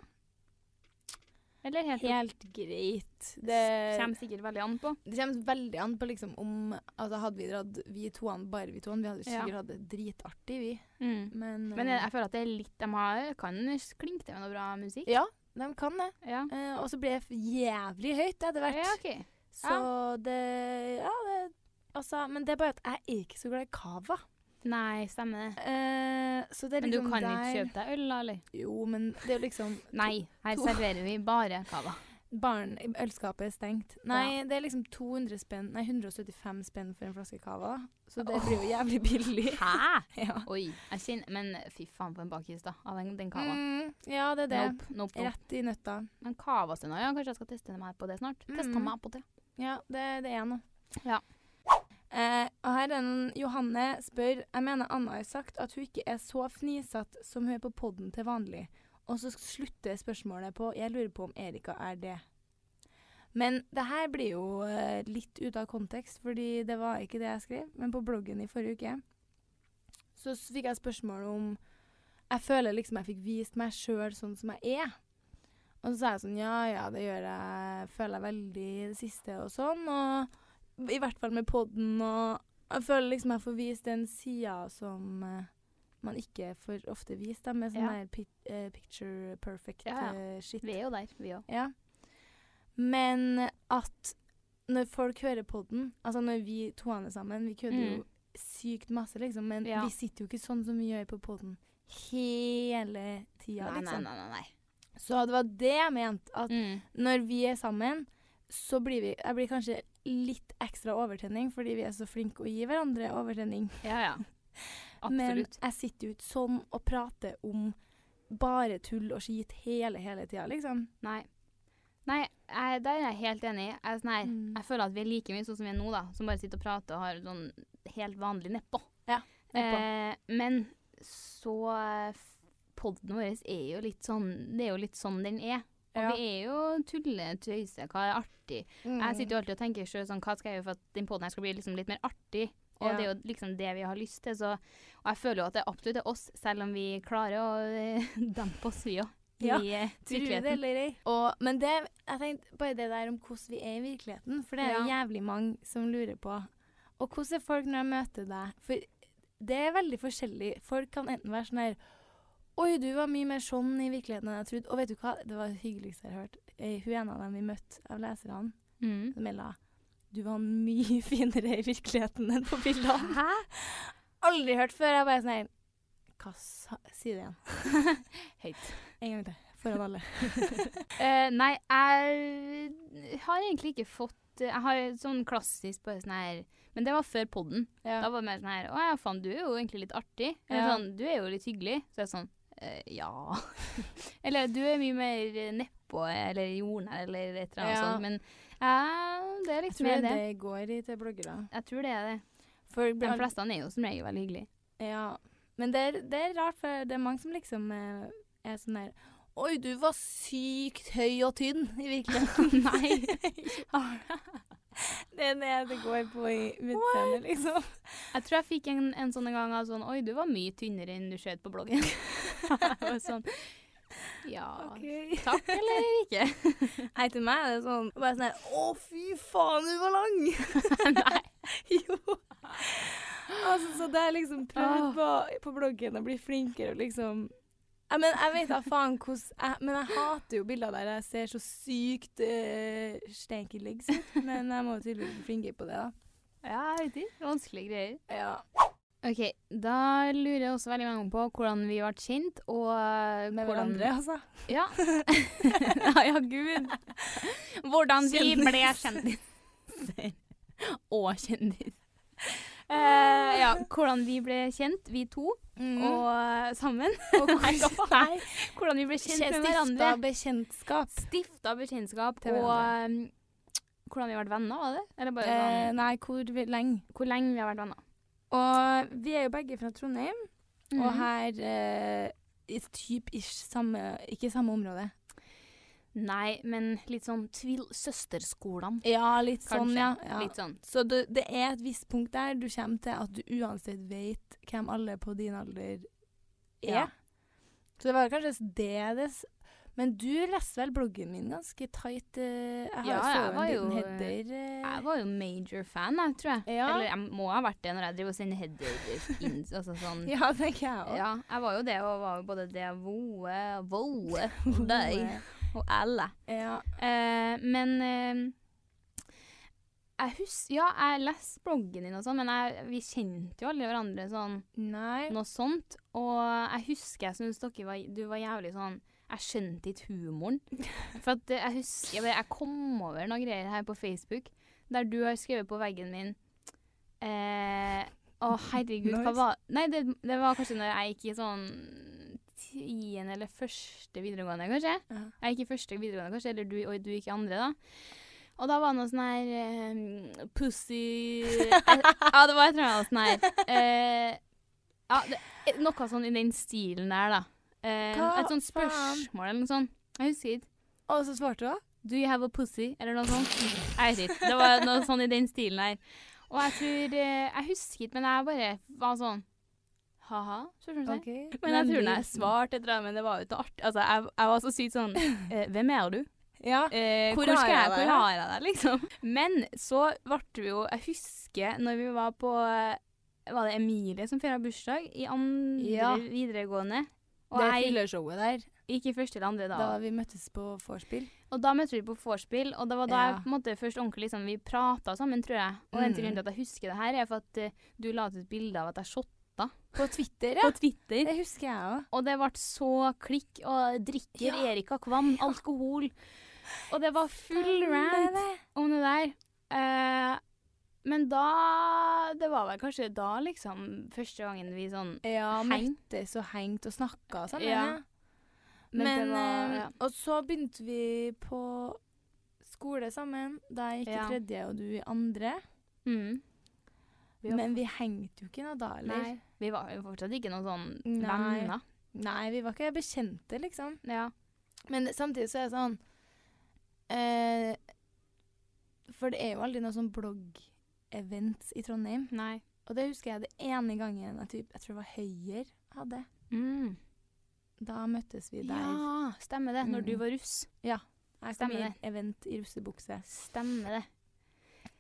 Eller helt opp?
Helt greit. Det
Kommer sikkert veldig an på.
Det kommer veldig an på liksom om altså Hadde vi dratt vi toene, bare vi toene, vi hadde sikkert hatt det dritartig, vi.
Mm.
Men,
Men jeg,
eh,
jeg føler at det er litt de har Kan klinke til med noe bra musikk.
Ja, de kan det.
Ja.
Eh, og så ble det f- jævlig høyt etter hvert.
Ja, OK.
Så det Ja, det Altså, men det er bare at jeg er ikke så glad i cava.
Nei, stemmer det.
Eh, så det er
Men du
liksom
kan jo
der
ikke kjøpe deg øl, da, eller?
Jo, men det er jo liksom
Nei, her
to-
serverer vi bare cava.
Barn, Ølskapet er stengt. Nei, det er liksom 200 spenn Nei, 175 spenn for en flaske cava. Så det blir jo jævlig billig.
Hæ?!
ja.
Oi. Jeg kjenner Men fy faen, for en bakis, da. Av den, den cava.
Mm, ja, det er det.
Nope, nope, nope.
Rett i nøtta.
Men cavastønad, ja. Kanskje jeg skal teste meg på det snart. Teste
Mm.
meg på det.
Ja, det, det er noe.
Ja.
Eh, og her er en Johanne spør Jeg mener Anna har sagt at hun ikke er så fnisete som hun er på podden til vanlig. Og så slutter spørsmålet på Jeg lurer på om Erika er det. Men det her blir jo eh, litt ute av kontekst, fordi det var ikke det jeg skrev. Men på bloggen i forrige uke så s- fikk jeg spørsmål om Jeg føler liksom jeg fikk vist meg sjøl sånn som jeg er. Og så sa jeg sånn Ja, ja, det gjør jeg. Føler jeg veldig i det siste og sånn. Og i hvert fall med podden og Jeg føler liksom jeg får vist den sida som eh, man ikke får ofte vist, da, med sånn
Ja.
der pic- eh, picture perfect
Ja, ja.
eh, shit.
Vi er jo der, vi òg.
Ja. Men at når folk hører podden, altså når vi toene sammen, vi kødder
Mm.
jo sykt masse, liksom, men
Ja.
vi sitter jo ikke sånn som vi gjør på podden hele tida,
nei, nei,
liksom.
nei, nei, nei.
Så det var det jeg mente. At
Mm.
når vi er sammen, så blir vi Jeg blir kanskje litt ekstra overtenning, fordi vi er så flinke å gi hverandre overtenning.
Ja, ja. Absolutt.
Men jeg sitter jo ikke sånn og prater om bare tull og skit hele, hele tida, liksom.
Nei. Nei, jeg, der er jeg helt enig. Jeg, er sånn her,
Mm.
jeg føler at vi er like mye sånn som vi er nå, da. Som bare sitter og prater og har sånn helt vanlig nedpå.
Ja, nedpå.
Eh, men så Poden vår er jo litt sånn Det er jo litt sånn den er. Og
Ja.
vi er jo tulle, tøyse, hva er artig?
Mm.
Jeg sitter jo alltid og tenker selv sånn, hva skal jeg gjøre for at den podden her skal bli liksom litt mer artig? Og
Ja.
det er jo liksom det vi har lyst til, så Og jeg føler jo at det absolutt er oss, selv om vi klarer å eh, dempe oss, vi òg.
Ja,
I eh,
Tror du det
virkeligheten.
eller ei? Og- Men det, jeg tenkte bare det der om hvordan vi er i virkeligheten, for det er
Ja.
jævlig mange som lurer på. Og hvordan er folk når de møter deg? For det er veldig forskjellig. Folk kan enten være sånn her Oi, du var mye mer sånn i virkeligheten enn jeg trodde. Og vet du hva, det var det hyggeligste jeg har hørt. Eh, Hun ene av dem vi møtte av leserne,
Mm.
Mella, du var mye finere i virkeligheten enn på bildene. Hæ? Aldri hørt før. Jeg bare sånn her Hva sa Si det igjen.
Høyt.
En gang til. Foran alle.
Eh, nei, jeg har egentlig ikke fått Jeg har sånn klassisk bare sånn her Men det var før podden.
Ja.
Da var det mer sånn her Å ja, faen, du er jo egentlig litt artig. Eller
Ja.
sånn Du er jo litt hyggelig. Så er det sånn eh, Ja. eller du er mye mer eh, nedpå eller jordnær eller et eller annet
Ja.
sånt. Men ja, det er
Jeg
liksom
tror
mer det.
det går i til bloggere.
Jeg tror det er det.
For
De fleste er jo som regel veldig hyggelige.
Ja. Men det er, det er rart, for det er mange som liksom eh, er sånn der Oi, du var sykt høy og tynn i virkeligheten.
Nei.
det er det det går på i utseendet, liksom.
Jeg tror jeg fikk en, en sånn en gang av sånn Oi, du var mye tynnere enn du skjøt på bloggen. Jeg var sånn Ja Takk, eller ikke?
Nei, til meg er det sånn bare sånn her Å, fy faen, du var lang!
Nei.
jo. Altså, så det er liksom prøvd på, på bloggen å bli flinkere og liksom jeg, men, jeg vet da faen hvordan jeg, Men jeg hater jo bilder der jeg ser så sykt uh, stanky legs ut. Men jeg må jo tydeligvis bli flinkere på det, da.
Ja, jeg vet ikke. Vanskelige greier.
Ja.
OK, da lurer jeg også veldig mange på hvordan vi ble kjent, og eh,
Med
hvordan
hverandre, altså.
Ja. ja, ja, gud. Hvordan vi
Kjendis.
ble kjendiser. Og kjendis. Eh, ja, hvordan vi ble kjent, vi to, og eh, sammen.
Mm. og hvordan- Nei,
Hvordan vi ble kjent med hverandre.
stifta bekjentskap.
Stifta bekjentskap
Til
og
hverandre.
um, hvordan vi har vært venner, var det? Eller bare
Eh,
sånn,
nei, hvor vi- lenge?
hvor lenge vi har vært venner.
Og vi er jo begge fra Trondheim, og
Mhm.
her eh, i typ ish samme Ikke samme område.
Nei, men litt sånn tvil-søsterskolene.
Ja, litt
Kanskje.
sånn, ja. ja.
Litt sånn.
Så det, det er et visst punkt der du kommer til at du uansett vet hvem alle på din alder er.
Ja.
Så det var kanskje det det s- Men du leser vel bloggen min ganske tight? eh, Jeg har
Ja,
så
jeg var
en
jo,
liten
eh,
header. eh.
Jeg var jo major fan, jeg, tror jeg.
Ja.
Eller jeg må ha vært det når jeg driver og sender headers inn. Altså sånn. ja.
Ja, tenker jeg òg.
jeg var jo det, og var jo både det voe, voe, og deg og alle.
Ja.
Eh, men eh, jeg husker Ja, jeg leste bloggen din og sånn, men jeg, vi kjente jo aldri hverandre sånn.
Nei.
noe sånt. Og jeg husker jeg syntes dere var, du var jævlig sånn Jeg skjønte ikke humoren. For at eh, jeg husker Jeg, bare- jeg kom over noen greier her på Facebook der du har skrevet på veggen min eh, Å, herregud, hva
Nice.
var Nei, det, det var kanskje når jeg gikk i sånn tiende eller første videregående, kanskje.
Ja.
Jeg gikk i første videregående, kanskje, eller du, og du gikk i andre, da. Og da var det noe sånn her eh, Pussy eh, Ja, det var et eller annet sånn her. Eh, ja, det, eh, noe sånn i den stilen der, da. Eh,
Hva
et sånt
faen?
spørsmål eller noe sånt. Jeg husker ikke.
Og så svarte du òg?
Do you have a pussy? Eller noe sånt. Jeg vet ikke. Det var noe sånn i den stilen her. Og jeg tror eh, Jeg husker ikke, men jeg bare var sånn Ha-ha? spørsmålstegn. Men jeg tror når jeg svarte et eller annet, men det var jo ikke artig. Altså, jeg, jeg var så sykt sånn eh, Hvem er du?
Ja.
Eh,
Hvor
hvor, skal
har
jeg,
jeg deg,
hvor
da?
har jeg deg, liksom? Men så ble det jo Jeg husker når vi var på eh, Var det Emilie som feira bursdag i andre
Ja.
videregående? Og
Det
jeg
fyllershowet der,
gikk i første eller andre da.
da vi møttes på vorspiel.
Og da møtte vi på vorspiel, og det var da
Ja. Mm.
jeg på en måte først ordentlig liksom, Vi prata sammen, tror jeg. Og en til grunn til at jeg husker det her, er for at eh, du la ut et bilde av at jeg shotta jenta
På Twitter, ja.
på Twitter.
Det husker jeg òg.
Og det ble så klikk og drikker Erika Kvam alkohol. Og det var full rant om det der. Eh, men da Det var vel kanskje da, liksom, første gangen vi sånn
Ja,
Heng.
møttes og hengt og snakka sammen.
Ja.
Ja.
Men
Men,
det var-
eh,
ja.
Og så begynte vi på skole sammen. Da jeg gikk
Ja.
i tredje og du i andre.
mm, Vi var-
Men vi hengte jo ikke noe da, eller?
Nei. Vi var jo fortsatt ikke noen sånn
Nei.
venner.
Nei, vi var ikke bekjente, liksom.
Ja.
Men samtidig så er det sånn eh, For det er jo aldri noe sånn blogg-event i Trondheim.
Nei.
Og det husker jeg det ene gangen jeg, typ, jeg tror det var Høyer hadde.
Mm.
Da møttes vi der.
Ja, stemmer det. Når du
Mm.
var russ.
jeg kom
stemmer
i
det.
event i russebukse.
Stemmer det.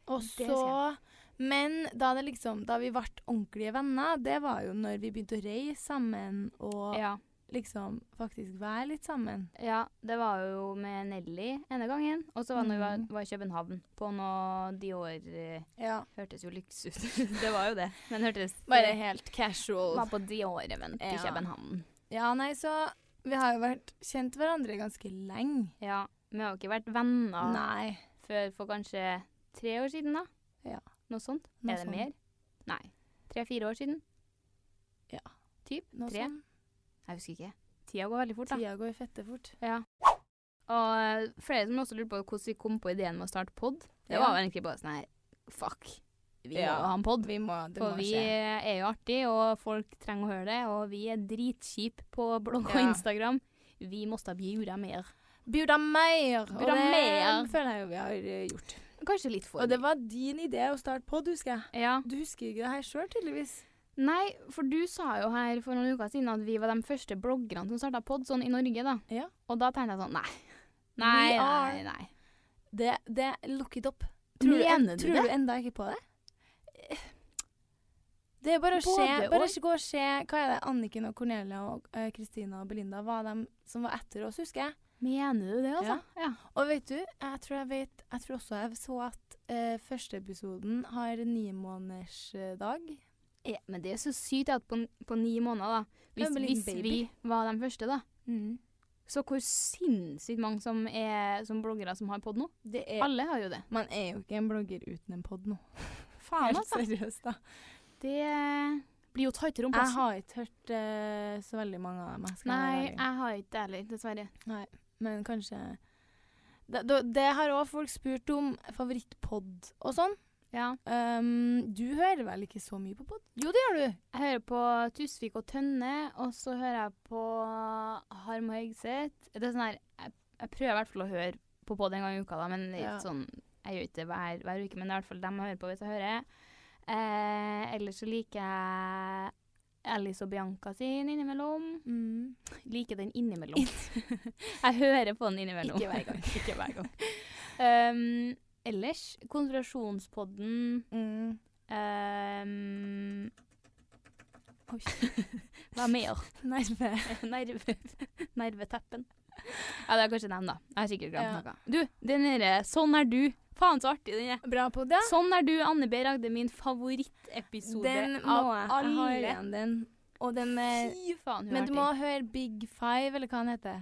Og
Det
så Men da, det liksom, da vi ble ordentlige venner, det var jo når vi begynte å reise sammen og
Ja.
liksom faktisk være litt sammen.
ja. Det var jo med Nelly ene gangen. Og så var det når vi var,
Mm.
var i København på noe Dior eh,
Ja.
Hørtes jo lyks ut. det var jo det. Men hørtes
Bare helt casual.
Var på Dior-event i
Ja.
København.
Ja, nei, så Vi har jo vært kjent hverandre ganske lenge.
Ja. Vi har jo ikke vært venner
Nei.
før for kanskje tre år siden, da.
Ja.
Noe sånt.
Noe
er det
sånn.
mer? Nei. Tre-fire år siden?
Ja.
Typ?
Nå
Tre?
sånn.
Jeg husker ikke. Tida går veldig fort, da.
Tida går fette fort.
Ja. Og eh, flere som også lurte på hvordan vi kom på ideen med å starte pod. Det
Ja.
var vel egentlig bare sånn her Fuck, vi må jo
Ja.
ha en pod.
Vi må, det
For
må
vi
skje.
er jo artig, og folk trenger å høre det. Og vi er dritkjipe på blogg og
Ja.
Instagram. Vi måste bjuda mer.
Bjuda mer! Og
Bjuda
det
mer.
føler jeg jo vi har eh, gjort.
Kanskje litt for
Og det var din idé å starte pod, husker jeg.
ja.
Du husker ikke det her sjøl, tydeligvis.
Nei, for du sa jo her for noen uker siden at vi var de første bloggerne som starta pod sånn i Norge, da.
Ja.
Og da tenkte jeg sånn Nei. Nei, nei,
are-
nei.
Det, det look it up.
Mener du
tror
det?
du enda ikke på det? Det er bare å se,
Både
bare
og.
ikke gå og se Hva er det Anniken og Cornelia og eh, Kristina og Belinda var de som var etter oss, husker jeg.
Mener du det, altså? Ja.
Og vet du, jeg tror jeg vet Jeg tror også jeg så at eh, første episoden har ni måneders eh, dag.
Ja, Eh, men det er så sykt at på, n- på ni måneder, da Hvis,
Ja, men liten
hvis vi var de første, da. Så hvor sinnssykt mange som er som bloggere som har pod nå.
Det er,
Alle har jo det.
man er jo ikke en blogger uten en pod nå.
Faen,
Helt
altså.
seriøst, da.
Det blir jo tightere om
Jeg
plassen.
har ikke hørt eh, så veldig mange av dem. jeg skal være
altså. Nei,
ærlig.
jeg har ikke det heller, dessverre.
Men kanskje Det, det, det har òg folk spurt om favorittpod og sånn.
Ja.
Um, du hører vel ikke så mye på pod? Jo, det gjør du.
Jeg hører på Tusvik og Tønne, og så hører jeg på Harm og Hegseth. Det er sånn her Jeg, jeg prøver i hvert fall å høre på pod en gang i uka, da, men det er
Ja.
ikke sånn Jeg gjør ikke det hver, hver uke, men det er i hvert fall dem jeg hører på hvis jeg hører. Eh, ellers så liker jeg Alice og Bianca sin innimellom. Mm. Liker den innimellom. jeg hører på den innimellom.
Ikke hver gang.
ikke hver gang. Um, ellers Konspirasjonspodden
Mm.
um,
Oi.
Hva mer?
Nerve.
Nerve, nerveteppen. Ja, det er kanskje dem, da. Jeg har sikkert glemt
Ja.
noe. Du, den derre 'Sånn er du'. Faen så artig den er.
Bra pod, ja.
'Sånn er du', Anne B. Ragde, min favorittepisode
Den må
av
jeg alle. ha
alle.
igjen, den. Og den med
Fy faen, hun er
Men du
artig.
må høre Big Five, eller hva den heter.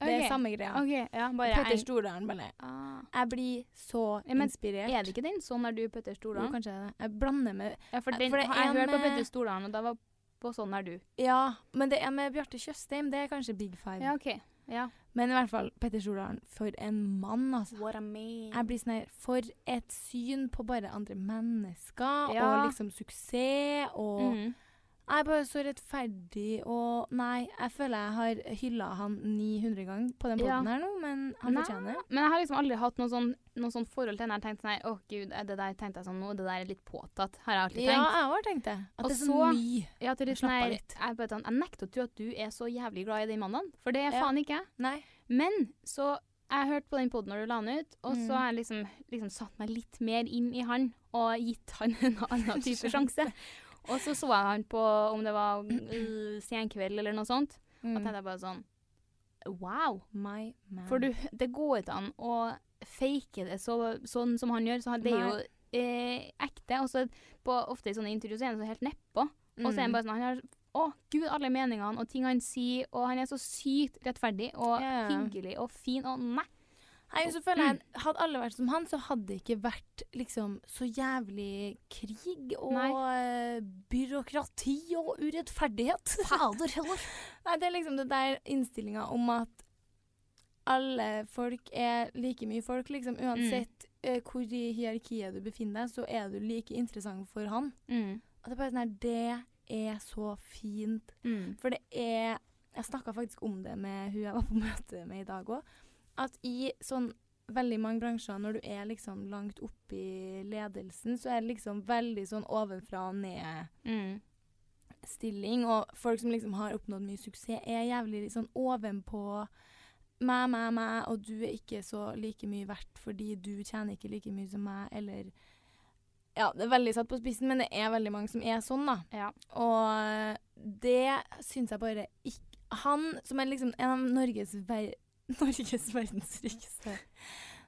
Det
Ok,
er samme greia.
OK, ja, bare
Petter
en
Stordalen, bare.
ah.
Jeg blir så
Ja, men
inspirert.
Er det ikke den? 'Sånn er du', Petter
Jo,
Stordalen?
kanskje det er det. Jeg blander med
Ja, for,
Eh,
den,
for det
jeg
er en
hørte på
med-
Petter Stordalen, og da var på sånn er du.
Ja, men det er med Bjarte Tjøstheim. Det er kanskje Big Five.
Ja, OK. Ja.
Men i hvert fall, Petter Stordalen, for en mann, altså.
What a man.
Jeg blir sånn her For et syn på bare andre mennesker,
Ja.
og liksom suksess, og
Mhm.
Jeg er bare så rettferdig, og Nei, jeg føler jeg har hylla han 900 ganger på den
Ja.
poden her nå, men han
Nei.
fortjener det.
Men jeg har liksom aldri hatt noe sånn, noe sånn forhold til den. Jeg har tenkt sånn her, å gud, eh, det der tenkte jeg sånn nå, det der er litt påtatt. Har jeg alltid
Ja,
tenkt.
jeg har tenkt det.
Og
At det er så
så-
mye.
Ja, til litt sånn
Slapp av
her,
litt.
jeg, bare sånn, jeg nekter å tro at du er så jævlig glad i den mannen, for det er
Ja.
faen ikke jeg.
Nei.
Men så jeg hørte på den poden når du la den ut, og
Mm.
så har jeg liksom, liksom satt meg litt mer inn i han, og gitt han en annen type sjanse. Og så så jeg han på om det var øh, senkveld eller noe sånt, og
Mm.
tenkte jeg bare sånn Wow!
My man.
For du, det går ikke an å fake det så, sånn som han gjør. Så han- det er jo eh, ekte. Og så på, ofte i sånne intervjuer så er han så helt nedpå. Og
Mm.
så er han bare sånn Han har å, gud, alle meningene og ting han sier, og han er så sykt rettferdig og
Ja.
hyggelig og fin og nei.
Nei, så føler jeg, Hadde alle vært som han, så hadde det ikke vært liksom, så jævlig krig og eh, byråkrati og urettferdighet. Fader heller. Nei, det er liksom det der innstillinga om at alle folk er like mye folk, liksom. Uansett eh, hvor i hierarkiet du befinner deg, så er du like interessant for han.
Mm.
Og det er bare sånn her Det er så fint.
Mm.
For det er Jeg snakka faktisk om det med hun jeg var på møte med i dag òg. At i sånn veldig mange bransjer, når du er liksom langt oppe i ledelsen, så er det liksom veldig sånn ovenfra og ned-stilling.
Mm.
Og folk som liksom har oppnådd mye suksess, er jævlig sånn ovenpå. Meg, meg, meg, og du er ikke så like mye verdt fordi du tjener ikke like mye som meg, eller Ja, det er veldig satt på spissen, men det er veldig mange som er sånn, da.
Ja.
Og det syns jeg bare ikke Han som er liksom en av Norges ver Norges verdens rikeste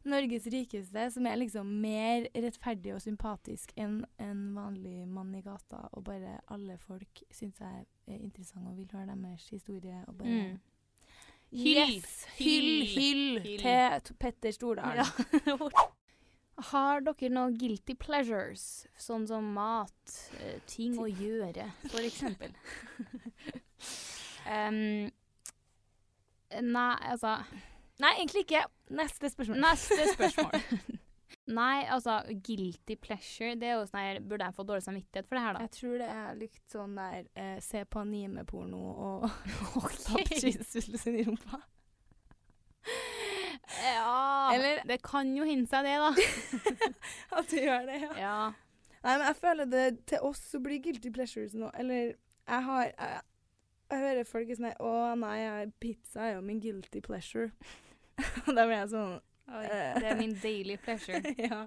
Norges rikeste, som er liksom mer rettferdig og sympatisk enn en vanlig mann i gata, og bare alle folk syns jeg er interessant og vil høre deres historie, og bare
Mm. Hyll.
Yes! Hyll, hyll,
Hyll.
til T- Petter Stordalen.
Har dere noe guilty pleasures, sånn som mat, eh, ting å gjøre, for eksempel? um, nei, altså
Nei, egentlig ikke. Neste spørsmål.
Neste spørsmål. nei, altså, guilty pleasure, det er jo sånn her Burde jeg få dårlig samvittighet for det her, da?
Jeg tror det er litt sånn der eh, se på anime-porno og
Ok.
stappe cheesefilsen i rumpa.
Ja
Eller-
Det kan jo hinne seg, det, da.
At du gjør det,
ja.
Nei, men jeg føler det til oss så blir guilty pleasures nå. Eller jeg har Jeg, jeg hører folk er sånn her, Å nei, jeg, pizza er jo min guilty pleasure. Og da blir jeg sånn
Oi, det er min daily pleasure.
Ja.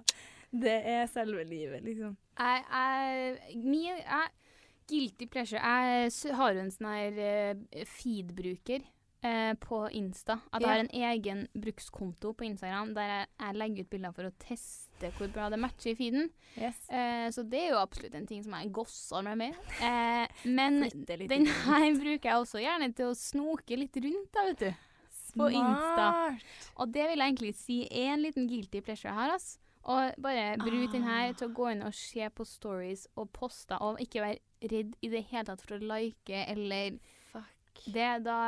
Det er selve livet, liksom.
Jeg, jeg, mye, jeg, guilty pleasure Jeg s- har jo en sånn her eh, feed-bruker eh, på Insta. At jeg
Ja.
har en egen brukskonto på Instagram der jeg, jeg legger ut bilder for å teste hvor bra det matcher i feeden.
Yes.
Eh, så det er jo absolutt en ting som jeg gosser meg med. Eh, men
Flytte litt
den
rundt.
her bruker jeg også gjerne til å snoke litt rundt, da, vet du. På Insta.
Smart.
Og det vil jeg egentlig si er en liten guilty pleasure jeg har, ass. Og bare bruk den her til å gå inn og se på stories og poster, og ikke være redd i det hele tatt for å like eller
Fuck.
Det er da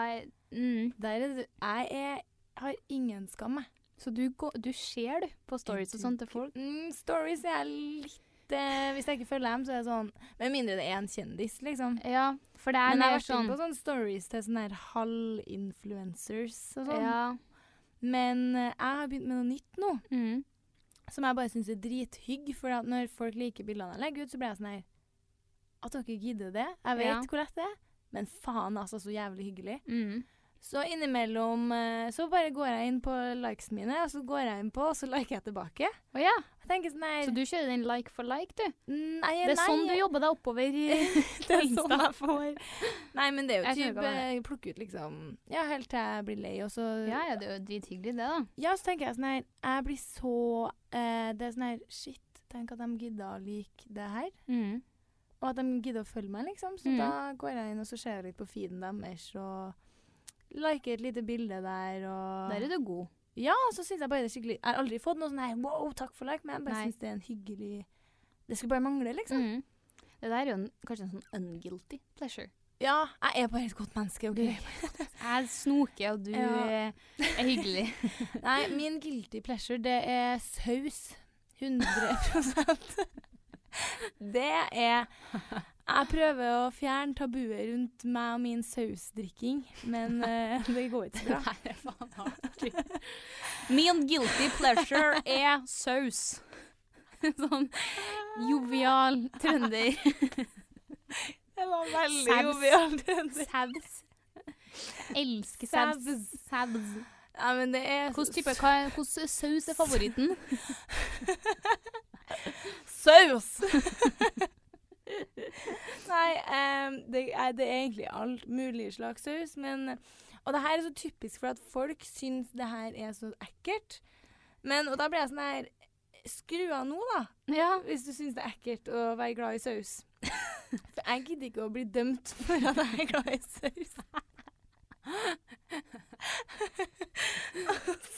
mm.
Der er du. Jeg er, har ingen skam, jeg.
Så du, går, du ser, du, på stories og sånt til folk?
Mm, stories er litt eh, Hvis jeg ikke følger dem, så er det sånn Med mindre det er en kjendis, liksom.
Ja, for det er
Men
mer
jeg har vært inne
sånn
på sånne stories til sånne her halv-influencers og sånn.
Ja.
Men eh, jeg har begynt med noe nytt nå.
Mm.
Som jeg bare syns er drithygg. For at når folk liker bildene jeg legger ut, så blir jeg sånn her At dere gidder det. Jeg vet
Ja.
hvor lett det er. Men faen, altså, så jævlig hyggelig.
Mm.
Så innimellom eh, så bare går jeg inn på likes mine, og så går jeg inn på, og så liker jeg tilbake.
Å ja.
Jeg tenker sånn her
Så du kjører den like for like, du?
Nei,
Det er
Eh, nei.
sånn du jobber deg oppover i
Det er sånn jeg får. Nei, men det er jo
Jeg skjønner hva
typ
du
eh, plukke ut liksom Ja, helt til jeg blir lei, og så
Ja ja, det er jo drithyggelig, det, da.
Ja, så tenker jeg sånn her Jeg blir så eh, Det er sånn her Shit, tenk at de gidder å like det her.
Mm.
Og at de gidder å følge meg, liksom. Så
Mm.
da går jeg inn og så ser jeg litt på feeden deres og liker et lite bilde der og
Der er du god.
Ja, og så syns jeg bare det er skikkelig Jeg har aldri fått noe sånn her wow, takk for like, men jeg bare
Nei.
syns det er en hyggelig Det skulle bare mangle, liksom.
Mm. Det der er jo en, kanskje en sånn unguilty pleasure.
Ja, jeg er bare et godt menneske, OK?
Jeg snoker, og du
Ja.
eh, er hyggelig.
Nei, min guilty pleasure, det er saus. 100 Det er Jeg prøver å fjerne tabuet rundt meg og min sausdrikking, men eh, det går ikke så bra.
Nei, faen, artig. Min guilty pleasure er saus. Sånn jovial trønder.
Det var veldig
Saus.
jovialt. Nei,
Saus. Jeg elsker saus. Saus.
men det er
Hvilken type hva, er- hvordan saus er favoritten?
saus! Nei, em, det, er, det er egentlig alt mulig slags saus, men Og det her er så typisk for at folk syns det her er så ekkelt. Men, og da blir jeg sånn her Skru av nå, da,
Ja.
hvis du syns det er ekkelt å være glad i saus. For jeg gidder ikke å bli dømt for at jeg er glad i saus.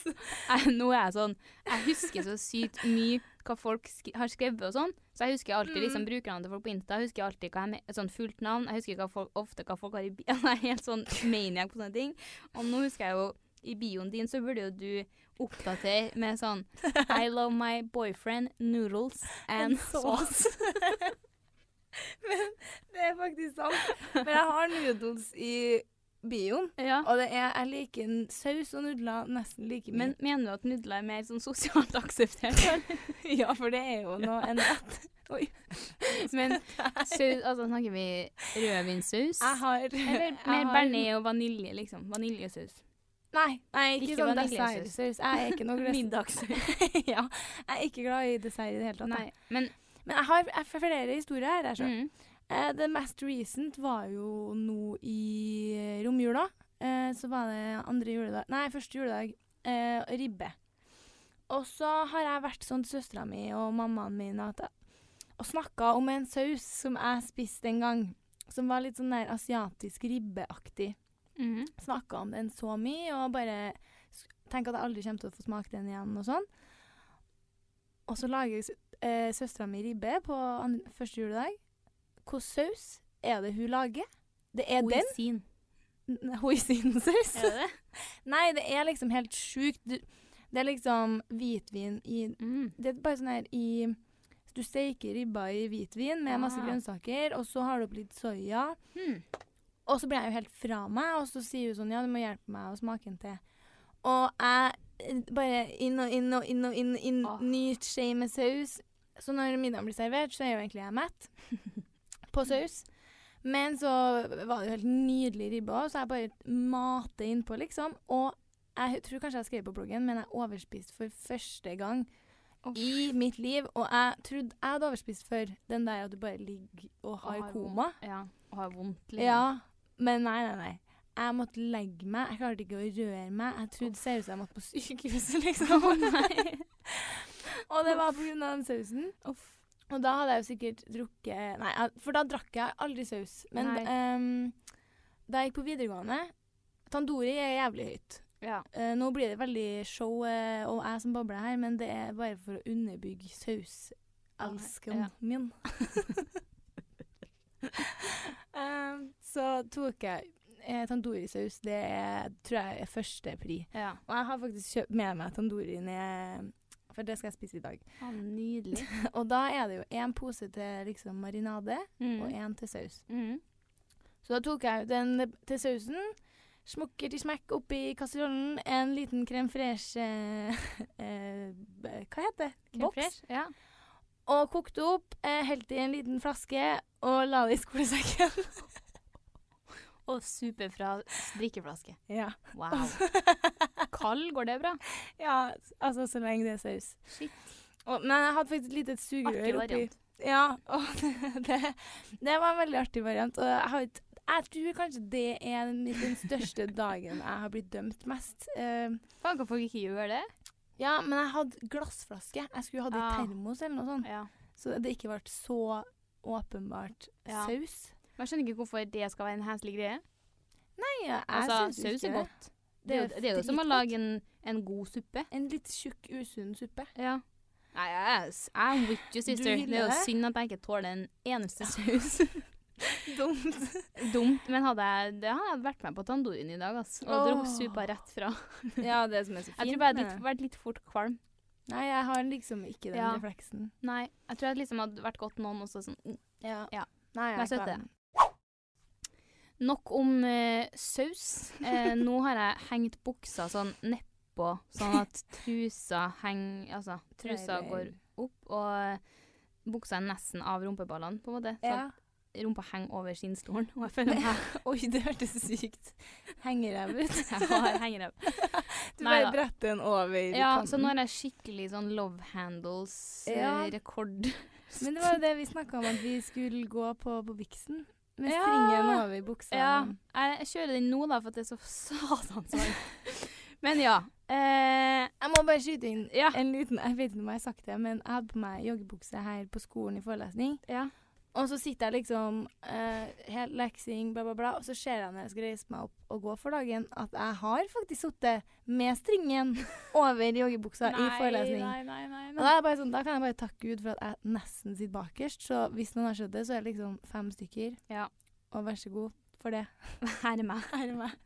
Jeg, nå er jeg sånn Jeg husker så sykt mye hva folk skri har skrevet og sånn. Så jeg husker alltid
Mm.
liksom brukernavnet til folk på Insta. Jeg husker alltid hva jeg me- sånn fullt navn. Jeg husker hva folk, ofte hva folk har i bioen. Jeg er helt sånn maniac på sånne ting. Og nå husker jeg jo i bioen din så burde jo du oppdatere med sånn I love my boyfriend, noodles and sauce.
Men det er faktisk sant. Men jeg har noodles i bioen.
Ja.
Og det er, jeg liker en saus og nudler nesten like mye.
Men mener du at nudler er mer sånn sosialt akseptert? eller?
ja, for det er jo nå en rett.
Men saus, altså snakker vi rødvinsaus?
Jeg har
Eller
jeg
mer
har-
bearnés og vanilje, liksom. Vaniljesaus.
Nei, nei ikke,
Ikke
sånn
vaniljesaus.
dessertsaus. Jeg er ikke noe glad ja, jeg er ikke glad i dessert i det hele tatt.
Nei, men
da. Men jeg har, jeg har flere historier her. Jeg, selv.
mm,
eh, det mest recent var jo nå i eh, romjula. Eh, så var det andre juledag Nei, første juledag. Eh, ribbe. Og så har jeg vært sånn til søstera mi og mammaen min at, og snakka om en saus som jeg spiste en gang. Som var litt sånn der asiatisk ribbeaktig.
mhm.
snakka om den så mye, og bare s- tenk at jeg aldri kommer til å få smake den igjen, og sånn. Og så lager s- eh, søstera mi ribbe på an- første juledag. Hvilken saus er det hun lager? Det er den
Hoisin.
n- hoisinsaus.
Er det det?
Nei, det er liksom helt sjukt. Du- Det er liksom hvitvin i
Mm.
det er bare sånn her i Du steiker ribba i hvitvin med masse
Ah.
grønnsaker, og så har du opp litt soya.
Hmm.
Og så blir jeg jo helt fra meg, og så sier hun sånn Ja, du må hjelpe meg å smake en til. Og jeg eh, bare inn og inn og inn og inn, inn
Ah.
nyt skje med saus. Så når middagen blir servert, så er jo egentlig jeg mett på saus. Men så var det jo helt nydelig ribbe òg, så jeg bare mater innpå, liksom. Og jeg tror kanskje jeg skrev på bloggen, men jeg overspiste for første gang i mitt liv, og jeg trodde jeg hadde overspist før den der at du bare ligger og har
Og har
koma.
Ja, og har vondt. liksom.
Ja, men nei, nei, nei. Jeg måtte legge meg. Jeg klarte ikke å røre meg. Jeg trodde ser ut som jeg måtte på sykehuset, liksom.
Å, nei.
og det var pga. den sausen. Og da hadde jeg jo sikkert drukket Nei, jeg- for da drakk jeg aldri saus. Men
Nei.
ehm, da jeg gikk på videregående Tandori er jævlig høyt.
Ja.
Eh, nå blir det veldig show eh, og jeg som babler her, men det er bare for å underbygge sauselskeren
Ja.
min. Em, Eh, så tok jeg eh, tandorisaus. Det er, tror jeg er første pri.
ja.
Og jeg har faktisk kjøpt med meg tandori ned, for det skal jeg spise i dag.
Å, nydelig.
Og da er det jo én pose til liksom marinade og
Mm.
én til saus.
Mm.
Så da tok jeg ut den til sausen. Smukker til smekk oppi kasserollen. En liten crème fraîche eh, eh, b- Hva heter det? Boks.
Boks? Ja.
Og kokte opp. Eh, Helte i en liten flaske og la det i skolesekken.
Og supe fra drikkeflaske.
ja.
Wow. Kald, går det bra?
ja, altså så lenge det er saus.
Shit.
Og, men jeg hadde faktisk et lite
Artig
sugerør oppi.
variant.
Ja, og det, det var en veldig artig variant. Og jeg, har, ikke- jeg tror kanskje det er den, den største dagen jeg har blitt dømt mest. Eh,
Faen, kan folk ikke gjøre det?
Ja, men jeg hadde glassflaske. Jeg skulle hatt det i
Ah.
termos eller noe sånt.
Ja.
Så det ikke ble så åpenbart
Ja.
saus.
Men jeg skjønner ikke hvorfor det skal være en heslig greie.
Nei, jeg
Altså,
synes jo
saus er
ikke det.
godt. Det er, jo- det er jo som å
dritgodt.
lage en, en god suppe.
En litt tjukk, usunn suppe.
Ja. Nei, jeg er- I'm with you, sister. Det
hyller
er jo
det?
synd at jeg ikke tåler en eneste saus.
Dumt.
Dumt, men hadde jeg, det hadde jeg vært med på tandorien i dag, ass. Og
Åh.
drukket supa rett fra.
ja, det som er så
Jeg tror bare jeg hadde litt, vært litt fort kvalm.
Nei, jeg har liksom ikke den
Ja.
refleksen.
Nei, jeg tror jeg liksom hadde vært godt noen også sånn. mm.
Ja.
Ja. Men
Nei,
jeg
jeg klarer
støtter
den.
Nok om eh, saus. Eh, nå har jeg hengt buksa sånn nedpå, sånn at trusa henger Altså, trusa
Deilig.
går opp, og buksa er nesten av rumpeballene, på en måte. Så
Ja.
at rumpa henger over skinnstolen, og jeg føler meg
Oi, det hørtes sykt hengeræv ut.
Jeg har hengerev.
Du
Nei
bare
da.
bretter den over
Ja,
kanten.
så nå er jeg skikkelig sånn love handles-rekord.
Ja.
Eh, rekord.
Men det var jo det vi snakka om, at vi skulle gå på på Vixen. Med
Ja.
stringen over buksa.
Ja, jeg kjører den nå da, for at det er så satans varmt. Men ja. Eh,
Jeg må bare skyte inn
ja.
en liten Jeg vet ikke om jeg har sagt det, men jeg hadde på meg joggebukse her på skolen i forelesning.
ja.
Og så sitter jeg liksom eh, helt leksing, bla, bla, bla, og så ser jeg når jeg skal reise meg opp og gå for dagen, at jeg har faktisk sittet med stringen over joggebuksa i forelesning.
Nei, nei, nei.
Og da, er jeg bare sånn, da kan jeg bare takke Gud for at jeg nesten sitter bakerst. Så hvis noen har skjønt det, så er det liksom fem stykker.
Ja.
Og vær så god for det.
Her er meg.
Ære meg.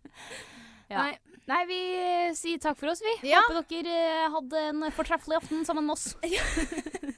Ja.
Nei,
Nei, vi eh, sier takk for oss, vi.
Ja.
Håper dere eh, hadde en fortreffelig aften sammen med oss.